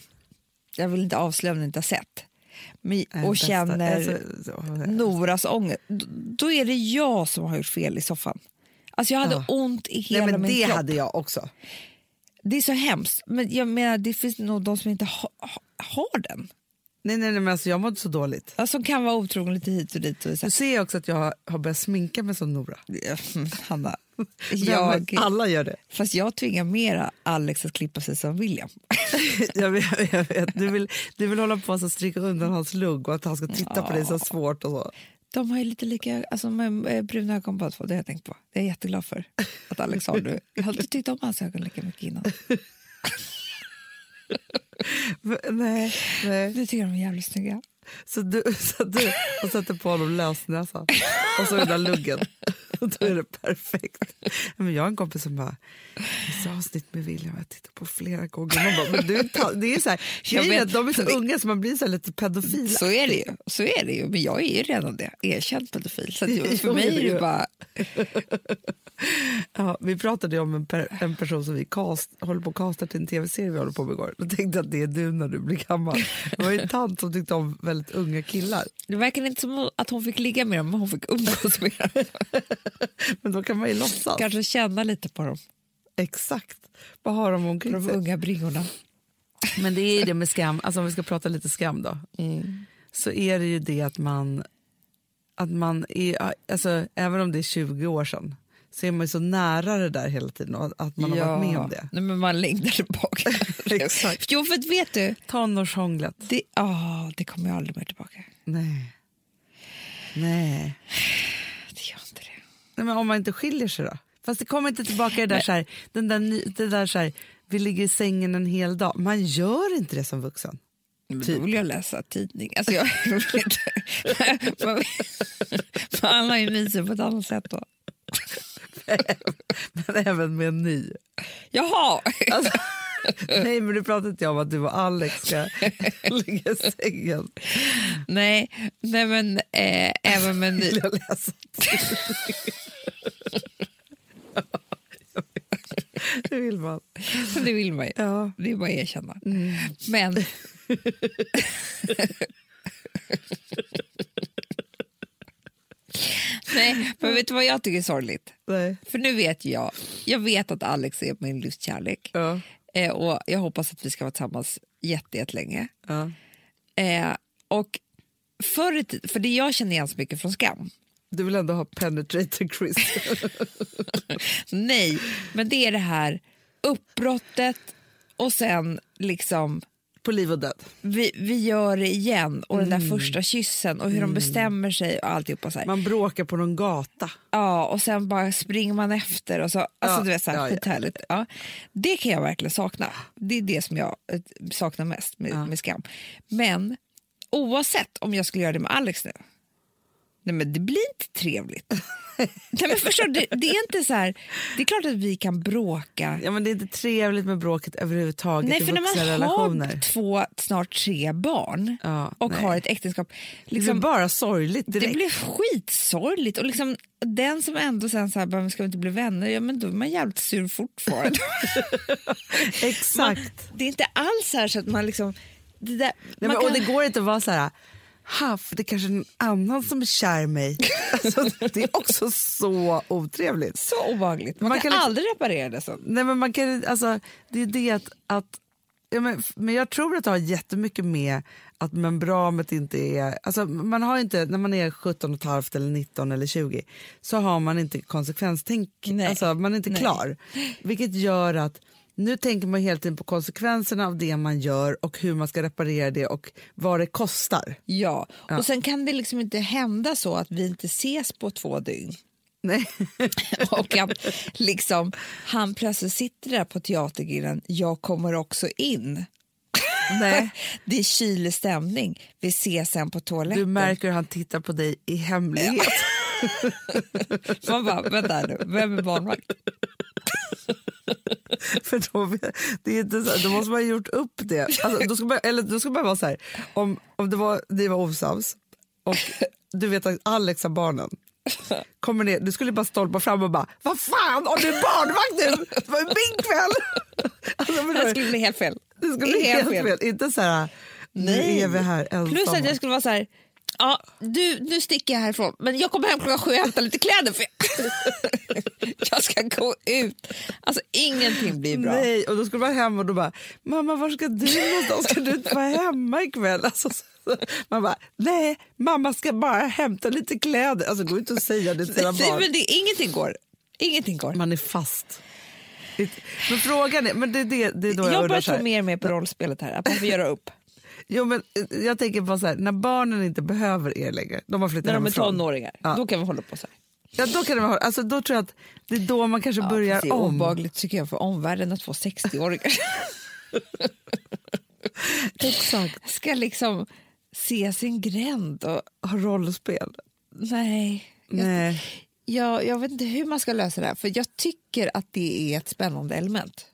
jag vill inte avslöja om ni inte har sett, men,
Eh,
och
bästa-
känner
alltså, så-
Noras ångest, d- då är det jag som har gjort fel i soffan. Alltså jag hade
Ja.
ont i hela
Nej, men
min
det
kropp.
hade jag också.
Det är så hemskt. Men jag menar, det finns nog de som inte ha, ha, har den.
Nej, nej, nej men alltså, jag mådde så dåligt.
Alltså, som kan vara otrogen lite hit och dit. Och så
Du ser också att jag har- har börjat sminka mig som Nora.
här. Hanna,
Ja, men
jag,
Alla gör det.
fast jag tvingar mera Alex att klippa sig som William.
Jag vet, jag vet. Du, vill, du vill hålla på att stryka undan hans lugg och att han ska titta på dig så svårt. Och så.
De har ju lite lika, alltså de har, eh, bruna ögon båda två, det har jag tänkt på. Det är jag jätteglad för att Alex har nu. Jag har inte tyckt om hans ögon lika mycket innan.
Nej, nej.
Nu tycker jag de är jävligt snygga.
Så du, så du och sätter på honom lösnäsa och så den där luggen. Och Då är det perfekt. Men jag har en kompis som bara, vissa avsnitt med William har jag tittat på flera gånger. Man bara, men du, är ta- det är så här,
Jag
grejen är att
vet.
de är så unga så man blir så här lite pedofil.
Så är det ju. Så är det ju. Men jag är ju redan det. Erkänd pedofil. Så att ju- för
Jo,
mig
det är
är
du.
det bara...
Ja, vi pratade ju om en, per, en person som vi cast, håller på och castar till en tv-serie vi håller på med igår. Då tänkte jag att det är du när du blir gammal. Det var ju en tant som tyckte om väldigt unga killar.
Det verkar inte som att hon fick ligga med dem, men hon fick umgås med dem.
Men då kan man ju låtsas.
Kanske känna lite på dem,
Exakt. Vad har de
på
omkring
de
sig?
unga bringorna.
Men det är ju det med skam, alltså om vi ska prata lite skam då. Så är det ju det att man, att man är, alltså även om det är 20 år sedan, så är man ju så nära det där hela tiden och att man har varit med om det.
Nej, men man längtar tillbaka.
Exakt.
Jo, för att vet du,
Tonårshånglet.
det, oh, det kommer jag aldrig mer tillbaka.
Nej. Nej.
Det gör inte det.
Nej, men om man inte skiljer sig då? Fast det kommer inte tillbaka det där, så här, den där, ny- det där så här, vi ligger i sängen en hel dag. Man gör inte det som vuxen.
Men då vill jag läsa tidning. Alltså, jag vet inte. Man, man har ju mysigt på ett annat sätt då.
Men även med en ny.
Jaha!
Alltså, nej, men du pratade inte om att du och Alex ska ligga i sängen.
Nej, nej men eh, även med ny.
Vill jag läsa tidning? Det vill man.
Det vill man ju.
Ja.
Det är bara att erkänna. Men... Nej, men vet du vad jag tycker är sorgligt?
Nej.
För nu vet jag, jag vet att Alex är min livskärlek.
Ja.
Eh, och jag hoppas att vi ska vara tillsammans jätte, jättelänge.
Ja.
Eh, och förr, i tid- för det jag känner igen så mycket från Skam,
Du vill ändå ha penetrator Chris.
nej, men det är det här uppbrottet och sen liksom
På liv och död.
vi, vi gör det igen och den där första kyssen och hur de bestämmer sig och alltihopa så här.
Man bråkar på någon gata.
Ja, och sen bara springer man efter och så, alltså
Ja,
du vet så här,
ja, ja.
skithärligt. Ja. Det kan jag verkligen sakna. Det är det som jag eh, saknar mest med, med skam. Men oavsett om jag skulle göra det med Alex nu, nej men det blir inte trevligt. nej men förstår du, det, det är inte så här, det är klart att vi kan bråka.
Ja, men det är inte trevligt med bråket överhuvudtaget
Nej,
i
för
vuxna
när man
relationer.
har två, snart tre barn
Ja,
och
nej.
har ett äktenskap,
Det blir
liksom,
bara sorgligt
det
direkt.
blir skitsorgligt. Och liksom, den som ändå sen så här, bara, "Men ska vi inte bli vänner? Ja, men då är man jävligt sur fortfarande.
Exakt.
det är inte alls så här så att man liksom... Det där,
Nej,
man
men, Och
kan-
det går inte att vara så här, ha, för det är kanske är någon annan som är kär i mig. Alltså, det är också så otrevligt.
Så obehagligt. Man,
Man
kan,
kan liksom-
aldrig reparera det. Så.
Nej, men man kan, alltså, det är det att, att ja, men, f- men jag tror att det har jättemycket med att membranet inte är... Alltså, man har inte, när man är 17 och ett halvt eller 19 eller 20 så har man inte konsekvenstänk.
Nej.
Alltså, man är inte klar. Vilket gör att nu tänker man hela tiden på konsekvenserna av det man gör och hur man ska reparera det och vad det kostar.
Ja. Och sen kan det liksom inte hända så att vi inte ses på två dygn.
Nej.
och att liksom, han plötsligt sitter där på teatergrillen, jag kommer också in.
Nej.
Det är kylig stämning, vi ses sen på toaletten.
Du märker hur han tittar på dig i hemlighet.
Man bara, vänta här nu, vem är barnvakt?
För då, det är inte så, här- då måste man ha gjort upp det. Alltså, då, ska man, eller, då ska man vara så här, om, om det var, ni var osams och du vet att Alex har barnen. Kommer ner, du skulle bara stolpa fram och bara Vad fan, om du är barnvakt nu? Det var ju min kväll! Alltså,
Det
förstår du?
skulle bli helt fel.
det skulle bli helt fel. Inte så här, nu
Nej.
är vi här ensamma.
Plus att jag skulle vara så här, ja, du, nu sticker jag härifrån men jag kommer hem klockan sju och hämtar lite kläder för jag, jag ska gå ut. Alltså ingenting blir bra.
Nej, och då skulle man hem och då bara, mamma var ska du någonstans? Ska du inte vara hemma ikväll? Alltså, så, så- man bara, nej, mamma ska bara hämta lite kläder. Alltså gå inte och säga det till sina
Nej,
barn.
men det, ingenting går. Ingenting går.
Man är fast. Men frågan är, men det, är det, det är då jag,
Jag
undrar
börjar
så
tro
här,
mer och mer på rollspelet här, att man får göra upp.
Jo, men eh, jag tänker på så här, när barnen inte behöver er längre, de har flyttat
När de är
hemifrån.
tonåringar,
Ja.
då kan vi hålla på så här.
Ja, då kan det vara, alltså, då tror jag att det är då man kanske
Ja, fast det
börjar
är
om.
obehagligt tycker jag för omvärlden att få 60-åringar.
Exakt.
ska liksom se sin gränd. Och,
Ha rollspel.
nej.
Nej.
Jag, jag vet inte hur man ska lösa det här, för jag tycker att det är ett spännande element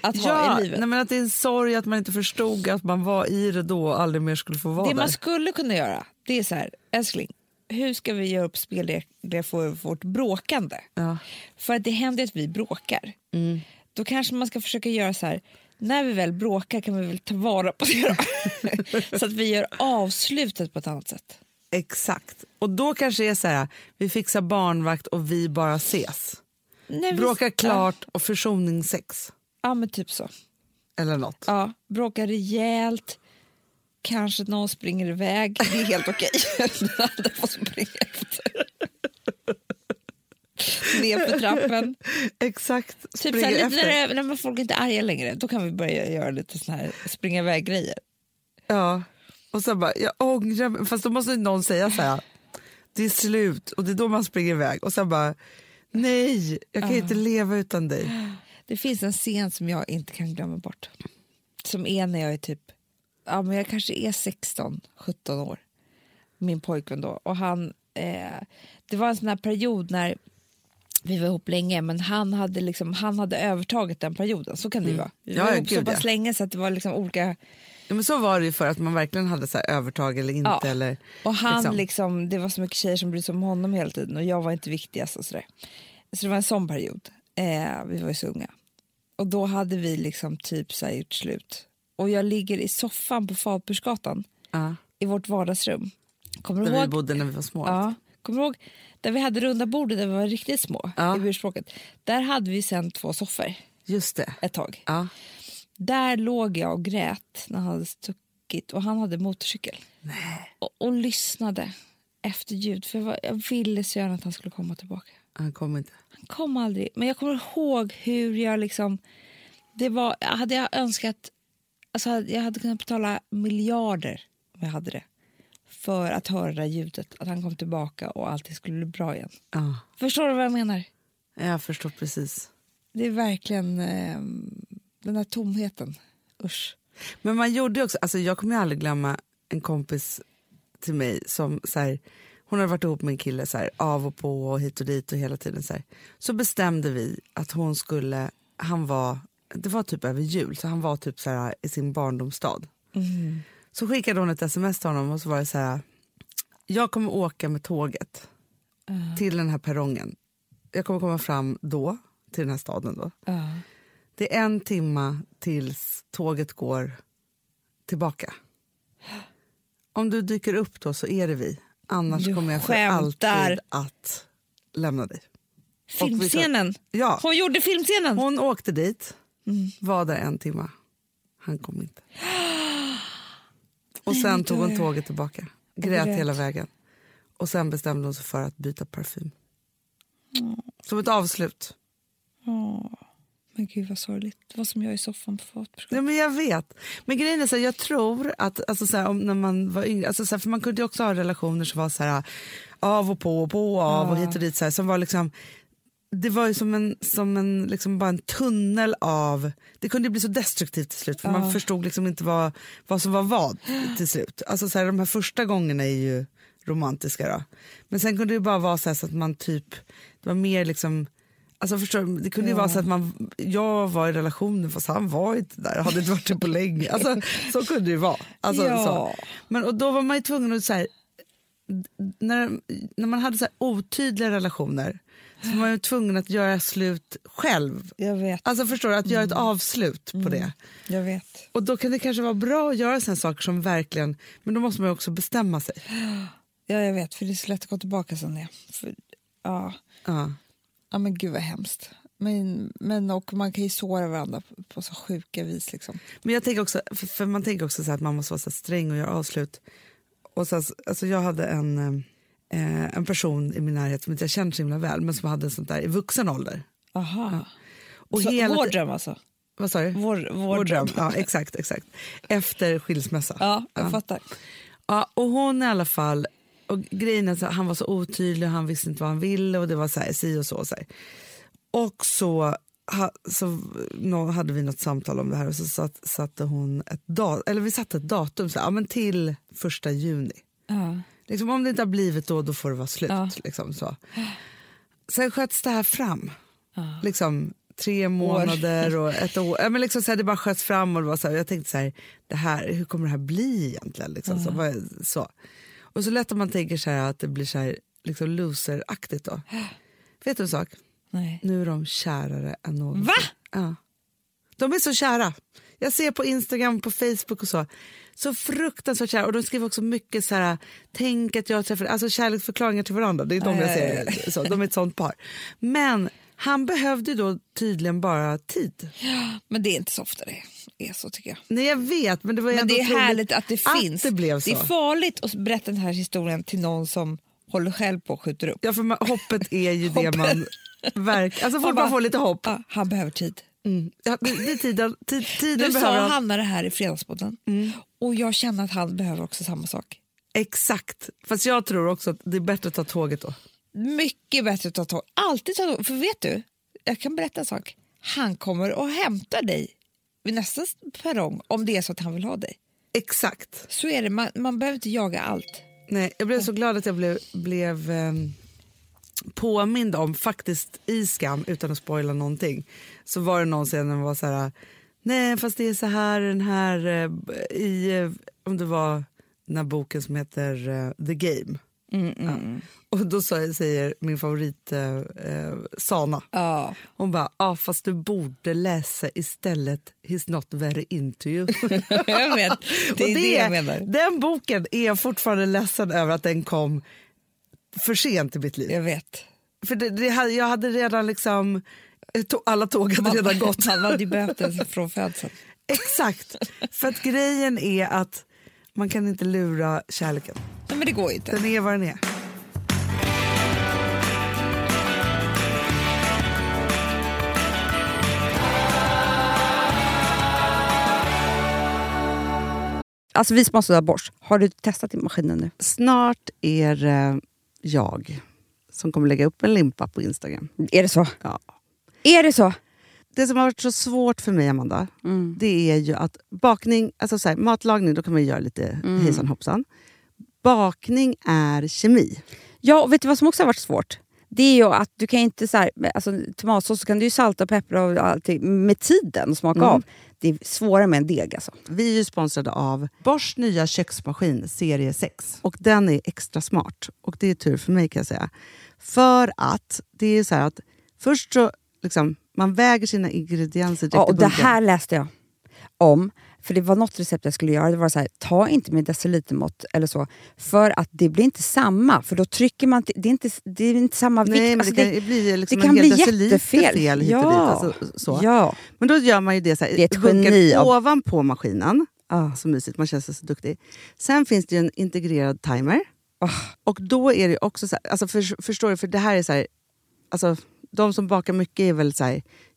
att
Ja,
ha i
nej,
livet.
men att det är en sorg att man inte förstod att man var i det då och aldrig mer skulle få vara
det
där.
man skulle kunna göra, det är så här, älskling, hur ska vi göra upp spelregler för vårt bråkande?
Ja. Mm.
För att det händer att vi bråkar. Då kanske man ska försöka göra så här, när vi väl bråkar kan vi väl ta vara på det då? Så att vi gör avslutet på ett annat sätt.
Exakt. Och då kanske det är så här, vi fixar barnvakt och vi bara ses.
Nej, vi-
Bråkar klart och försoningssex.
Ja, men typ så.
Eller något.
Ja, bråkar rejält. Kanske någon springer iväg. Det är helt okej. Den andra får springa efter. Ner för trappen.
Exakt.
Typ så
Springer
här, lite
efter.
när, det, när man folk inte är arga längre, då kan vi börja göra lite såna här springa iväg-grejer.
Ja. Och sen bara, jag ångrar mig. Fast då måste ju någon säga så här, det är slut och det är då man springer iväg. Och sen bara, nej, jag kan ju inte leva utan dig.
Det finns en scen som jag inte kan glömma bort. Som är när jag är typ, ja men jag kanske är 16, 17 år. Min pojkvän då. Och han, eh, det var en sån här period när vi var ihop länge men han hade, liksom, han hade övertagit den perioden. Så kan det ju vara. Vi
Mm. Ja,
var
ja,
ihop så
gud,
pass
ja.
länge så att det var liksom olika
Ja, men så var det ju för att man verkligen hade så här övertag eller inte.
Ja.
Eller,
Och han liksom. det var så mycket tjejer som brydde sig om honom hela tiden och jag var inte viktigast och sådär. Så det var en sån period. Eh, vi var ju så unga. Och då hade vi liksom typ så här gjort slut. Och jag ligger i soffan på Fabersgatan
ja,
i vårt vardagsrum. Kommer du
där vi
ihåg?
bodde när vi var små.
Ja, kommer du ihåg? Där vi hade runda bordet där vi var riktigt små
Ja.
i burspråket. Där hade vi sen två soffor
Just det.
ett tag.
Ja.
Där låg jag och grät när han hade stuckit och han hade motorcykel. Och, och lyssnade efter ljud, för jag, var, jag ville så gärna att han skulle komma tillbaka.
Han kom inte.
Han kom aldrig, men jag kommer ihåg hur jag liksom... Det var, hade jag önskat... Alltså hade- jag hade kunnat betala miljarder om jag hade det för att höra det där ljudet, att han kom tillbaka och allting skulle bli bra igen.
Ja.
Förstår du vad jag menar?
Jag förstår precis.
Det är verkligen eh, den där tomheten. Usch.
Men man gjorde ju också, alltså jag kommer ju aldrig glömma en kompis till mig som så här, hon hade varit ihop med en kille så här, av och på och hit och dit och hela tiden så här. Så bestämde vi att hon skulle, han var, det var typ över jul så han var typ så här i sin barndomsstad. Så skickade hon ett sms till honom och så var det så här, jag kommer åka med tåget till den här perrongen. Jag kommer komma fram då, till den här staden då.
Ja.
Det är en timma tills tåget går tillbaka. Om du dyker upp då så är det vi. Annars
Du
kommer jag för
skämtar.
alltid att lämna dig. Och vi tar-
Filmscenen!
Ja,
Hon gjorde filmscenen!
hon åkte dit, var där en timma. Han kom inte. Och sen tog hon tåget tillbaka. Grät
grät.
hela vägen. Och sen bestämde hon sig för att byta parfym. Som ett avslut.
Åh, men gud vad sorgligt. Det var som jag i soffan på Fabersgatan.
Ja, men jag vet. Men grejen är så här, jag tror att alltså, så här, om, när man var yngre, alltså, så här, för man kunde ju också ha relationer som var så här av och på och på och av och hit och dit så här, som var liksom det var ju som en, som en, liksom bara en tunnel av... Det kunde ju bli så destruktivt till slut för man förstod liksom inte vad, vad som var vad till slut. Alltså så här, de här första gångerna är ju romantiska då. Men sen kunde det ju bara vara så, här, så att man typ, det var mer liksom Alltså förstår du, det kunde ju vara så att man, jag var i relationen fast han var inte där, hade inte varit det på länge. Alltså, så kunde det ju vara. Alltså,
Ja.
så. Men, och då var man ju tvungen att så här, när, när man hade så här otydliga relationer så var man ju tvungen att göra slut själv.
Jag vet,
Alltså förstår du, att göra ett avslut på det.
jag vet.
Och då kan det kanske vara bra att göra såna saker som verkligen, men då måste man ju också bestämma sig.
Ja, jag vet, för det är så lätt att gå tillbaka sen. Ja. För, ja.
Ja.
ja, men gud vad hemskt. Men, men och man kan ju såra varandra på, på så sjuka vis. Liksom.
Men jag tänker också, för, för man tänker också så här att man måste vara så här sträng och göra avslut. Och så, alltså jag hade en, eh, en person i min närhet som inte jag känner så himla väl, men som hade sånt där i vuxen ålder.
Aha.
Och
så,
hela
vår
ti-
dröm alltså?
Vad sa du?
Vår, vår,
Vår dröm.
dröm.
Ja, exakt, exakt. Efter skilsmässa.
Ja, jag fattar.
Ja, och hon i alla fall, och grejen är så här, han var så otydlig, han visste inte vad han ville och det var så här, si och så. så här. Och så, ha, så nå, hade vi något samtal om det här och så satt, satte hon ett datum, eller vi satte ett datum så här, ja, men till första juni.
Ja.
Liksom, om det inte har blivit då, då får det vara slut.
Ja.
Liksom, så. Sen sköts det här fram. Liksom, tre månader och ett år. Ja, men liksom, så här, det bara sköts fram. Och det var så här, jag tänkte så här, det här, hur kommer det här bli egentligen? Liksom, så, vad- så. Och så lätt om man tänker så här, att det blir så här, liksom loseraktigt. Då. Vet du en sak?
Nej.
Nu är de kärare än någonsin.
Va?
Ja. De är så kära. Jag ser på Instagram, på Facebook och så. Så fruktansvärt kära. Och de skriver också mycket så här, tänk att jag träffar... Alltså kärleksförklaringar till varandra. Det är de jag ser. Så, de är ett sånt par. Men han behövde ju då tydligen bara tid.
Men det är inte så ofta det är så tycker jag.
Nej, jag vet, men det var ju
Men
ändå
det är
otroligt
härligt att det finns.
Att det blev så.
är farligt att berätta den här historien till någon som håller själv på och skjuter upp.
ja, för man, hoppet är ju det
Hoppet.
man... Verk, alltså
Man
folk
bara-
bara får lite hopp.
Ja, han behöver tid.
Mm. Ja, det det är tiden, tid, tiden
Du
behöver Mm.
sa Hanna det här i Fredagspodden och jag känner att han behöver också samma sak.
Exakt. Fast jag tror också att det är bättre att ta tåget då.
Mycket bättre att ta tåg. Alltid ta tåg. För vet du, jag kan berätta en sak. Han kommer och hämtar dig vid nästa perrong om det är så att han vill ha dig.
Exakt.
Så är det, man, man behöver inte jaga allt.
Nej, jag blev så glad att jag blev, blev ehm, påmind om, faktiskt i Skam, utan att spoila någonting, så var det någon scen där man var så här, nej fast det är så här den här, eh, b- i, eh, om det var den här boken som heter eh, The Game. Ja. Och då sa- säger min favorit eh, eh, Sana,
Ja.
hon bara, ah, fast du borde läsa istället He's not very into you.
jag vet. Det är det,
Och
jag menar.
Den boken är jag fortfarande ledsen över att den kom för sent i mitt liv.
Jag vet.
För det, det, hade- jag hade redan liksom, to, alla tåg hade redan gått.
Han hade ju behövt den från födseln.
Exakt, för att grejen är att man kan inte lura kärleken.
Nej, men det går ju inte.
Den är vad den är.
Alltså vi som har sådär borst, har du testat i maskinen nu?
Snart är det jag som kommer lägga upp en limpa på Instagram.
Är det så?
Ja.
Är det så?
Det som har varit så svårt för mig, Amanda, det är ju att bakning... Alltså så här, matlagning, då kan man ju göra lite hejsan hoppsan. Bakning är kemi.
Ja, och vet du vad som också har varit svårt? Det är ju att du kan ju inte så här, alltså, tomatsås så kan du ju salta och peppra och allting med tiden och
Mm.
smaka av. Det är svårare med en deg alltså.
Vi är ju sponsrade av Bors nya köksmaskin serie 6. Och den är extra smart. Och det är tur för mig kan jag säga. För att det är så här att först så liksom, man väger sina ingredienser direkt
Ja, och
i
det
bunken.
här läste jag om. För det var något recept jag skulle göra. Det var så här, ta inte med decilitermått eller så. För att det blir inte samma. För då trycker man... till- Det är inte, det är inte samma vikt.
Nej, men
Alltså,
det kan ju bli liksom
det kan
en hel
bli
deciliter
jättefel.
fel hit och dit. Alltså, så.
Ja.
Men då gör man ju det så här,
Det är ett
bunkar
geni av-
ovanpå maskinen.
Ah.
Så mysigt, man känns så duktig. Sen finns det ju en integrerad timer.
Ah.
Och då är det ju också så här, alltså för, förstår du, för det här är så här, alltså de som bakar mycket är väl så här,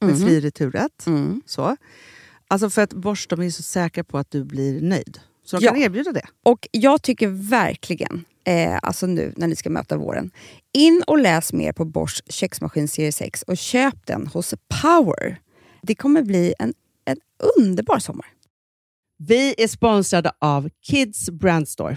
med fri returrätt.
Mm.
Så. Alltså för att Bosch de är ju så säkra på att du blir nöjd. Så de
Ja.
kan erbjuda det.
Och jag tycker verkligen, eh, alltså nu när ni ska möta våren, in och läs mer på Bosch köksmaskin serie 6 och köp den hos Power. Det kommer bli en, en underbar sommar.
Vi är sponsrade av Kids Brand Store.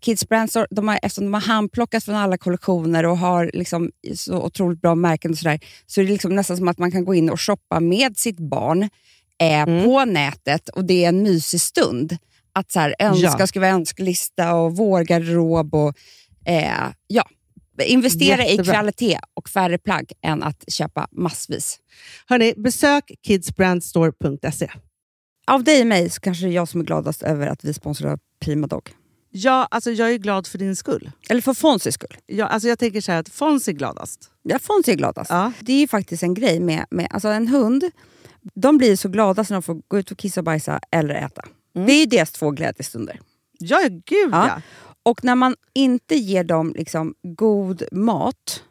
Kids Brand Store, de har, eftersom de har handplockat från alla kollektioner och har liksom så otroligt bra märken och sådär, så är det liksom nästan som att man kan gå in och shoppa med sitt barn eh, på nätet och det är en mysig stund. Att så här, önska,
Ja.
skriva önskelista och vårgarderob och eh, ja. Investera i
Jättebra.
kvalitet och färre plagg än att köpa massvis.
Hörni, besök kidsbrandstore.se.
Av dig och mig så kanske det är jag som är gladast över att vi sponsrar Prima Dog.
Ja, alltså jag är glad för din skull.
Eller för Fonzys skull.
Jag, alltså jag tänker så här att Fons är gladast.
Ja, Fonzie är gladast.
Ja.
Det är ju faktiskt en grej med, med alltså en hund. De blir så glada när de får gå ut och kissa och bajsa eller äta.
Mm.
Det är ju deras två glädjestunder.
Ja, gud
Ja.
ja.
Och när man inte ger dem liksom god mat,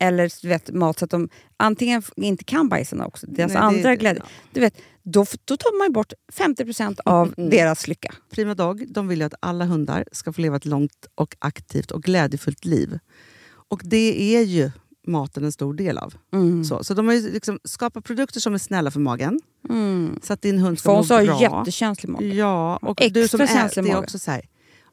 eller du vet, mat så att de antingen f- inte kan bajsarna också, deras
Nej, det-
andra glädje, du vet, då, f- då tar man ju bort 50%
Mm,
av deras lycka.
Prima Dog de vill ju att alla hundar ska få leva ett långt och aktivt och glädjefullt liv. Och det är ju maten en stor del av.
Mm.
Så, så de har ju liksom skapat produkter som är snälla för magen.
Mm.
Så att din hund ska
Fons har
må
ju
Mm. bra.
jättekänslig mage.
Ja, och
Extra
du som
känslig
är, det är
mage.
också så här.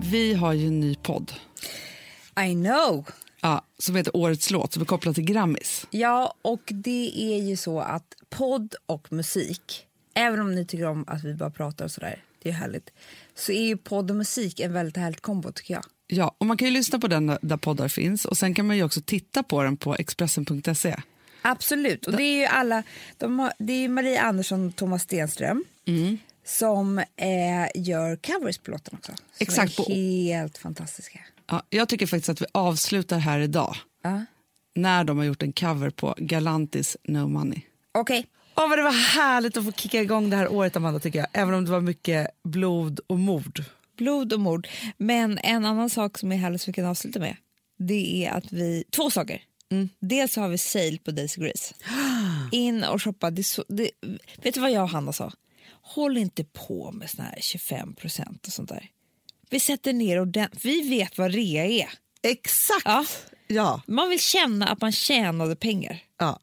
Vi har ju en ny podd
I know!
ja, som heter Årets låt som är kopplad till Grammis.
Ja, och det är ju så att podd och musik, även om ni tycker om att vi bara pratar och sådär, det är ju härligt, så är ju podd och musik en väldigt härlig kombo tycker jag.
Ja, och man kan ju lyssna på den där poddar finns och sen kan man ju också titta på den på Expressen.se.
Absolut, och det är ju alla, de har, det är ju Marie Andersson och Thomas Stenström som eh, gör covers på låten också. Som
Exakt, på-
Är helt fantastiska.
Ja, jag tycker faktiskt att vi avslutar här idag
Ja.
när de har gjort en cover på Galantis No Money.
Okej,
Åh, vad det var härligt att få kicka igång det här året, Amanda, tycker jag. Även om det var mycket blod och mord.
blod och mord. Men en annan sak som är härlig som vi kan avsluta med, det är att vi, två saker. Dels har vi sale på Daisy Grace. In och shoppa. Det är så, det, vet du vad jag och Hanna sa? Håll inte på med såna här 25 procent och sånt där. Vi sätter ner ordentligt. Vi vet vad rea är.
Exakt!
Ja.
Ja,
Man vill känna att man tjänade pengar.
ja.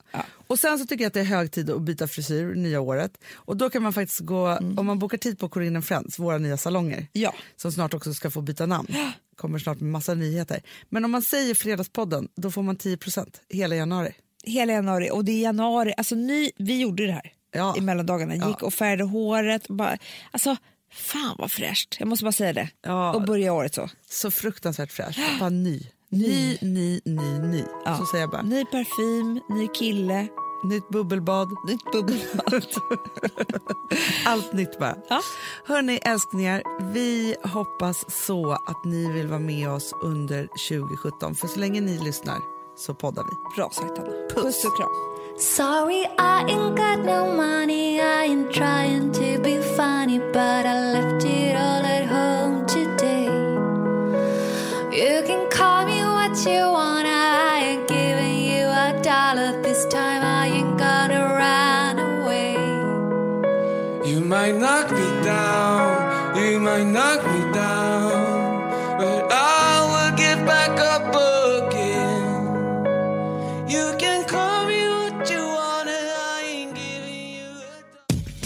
Och sen så tycker jag att det är hög tid att byta frisyr nya året. Och då kan man faktiskt gå, om man bokar tid på Corinne Friends, våra nya salonger,
Ja.
som snart också ska få byta namn, kommer snart med massa nyheter. Men om man säger Fredagspodden, då får man 10% hela januari.
Hela januari. Och det är januari. Alltså, ni, vi gjorde det här
Ja.
i mellandagarna. Gick och färgade håret. Och bara, alltså, fan vad fräscht. Jag måste bara säga det.
Ja.
Och börja året så.
Så fruktansvärt fräsch, bara ny. Ny, ny, ny, ny. Så säger jag bara,
Ny parfym, ny kille,
Nytt bubbelbad.
Nytt bubbelbad.
Allt nytt bara.
Ja.
Hörni älsklingar, vi hoppas så att ni vill vara med oss under 2017. För så länge ni lyssnar så poddar vi.
Bra sagt, Anna. Puss och kram.
Sorry, I ain't got no money. I ain't trying to be funny, but I left it all at home today. You can call me what you want. I ain't giving you a dollar this time. I ain't gonna run away.
You might knock me down, you might knock me down, but I will get back up again. You can call me what you want, and I ain't giving you a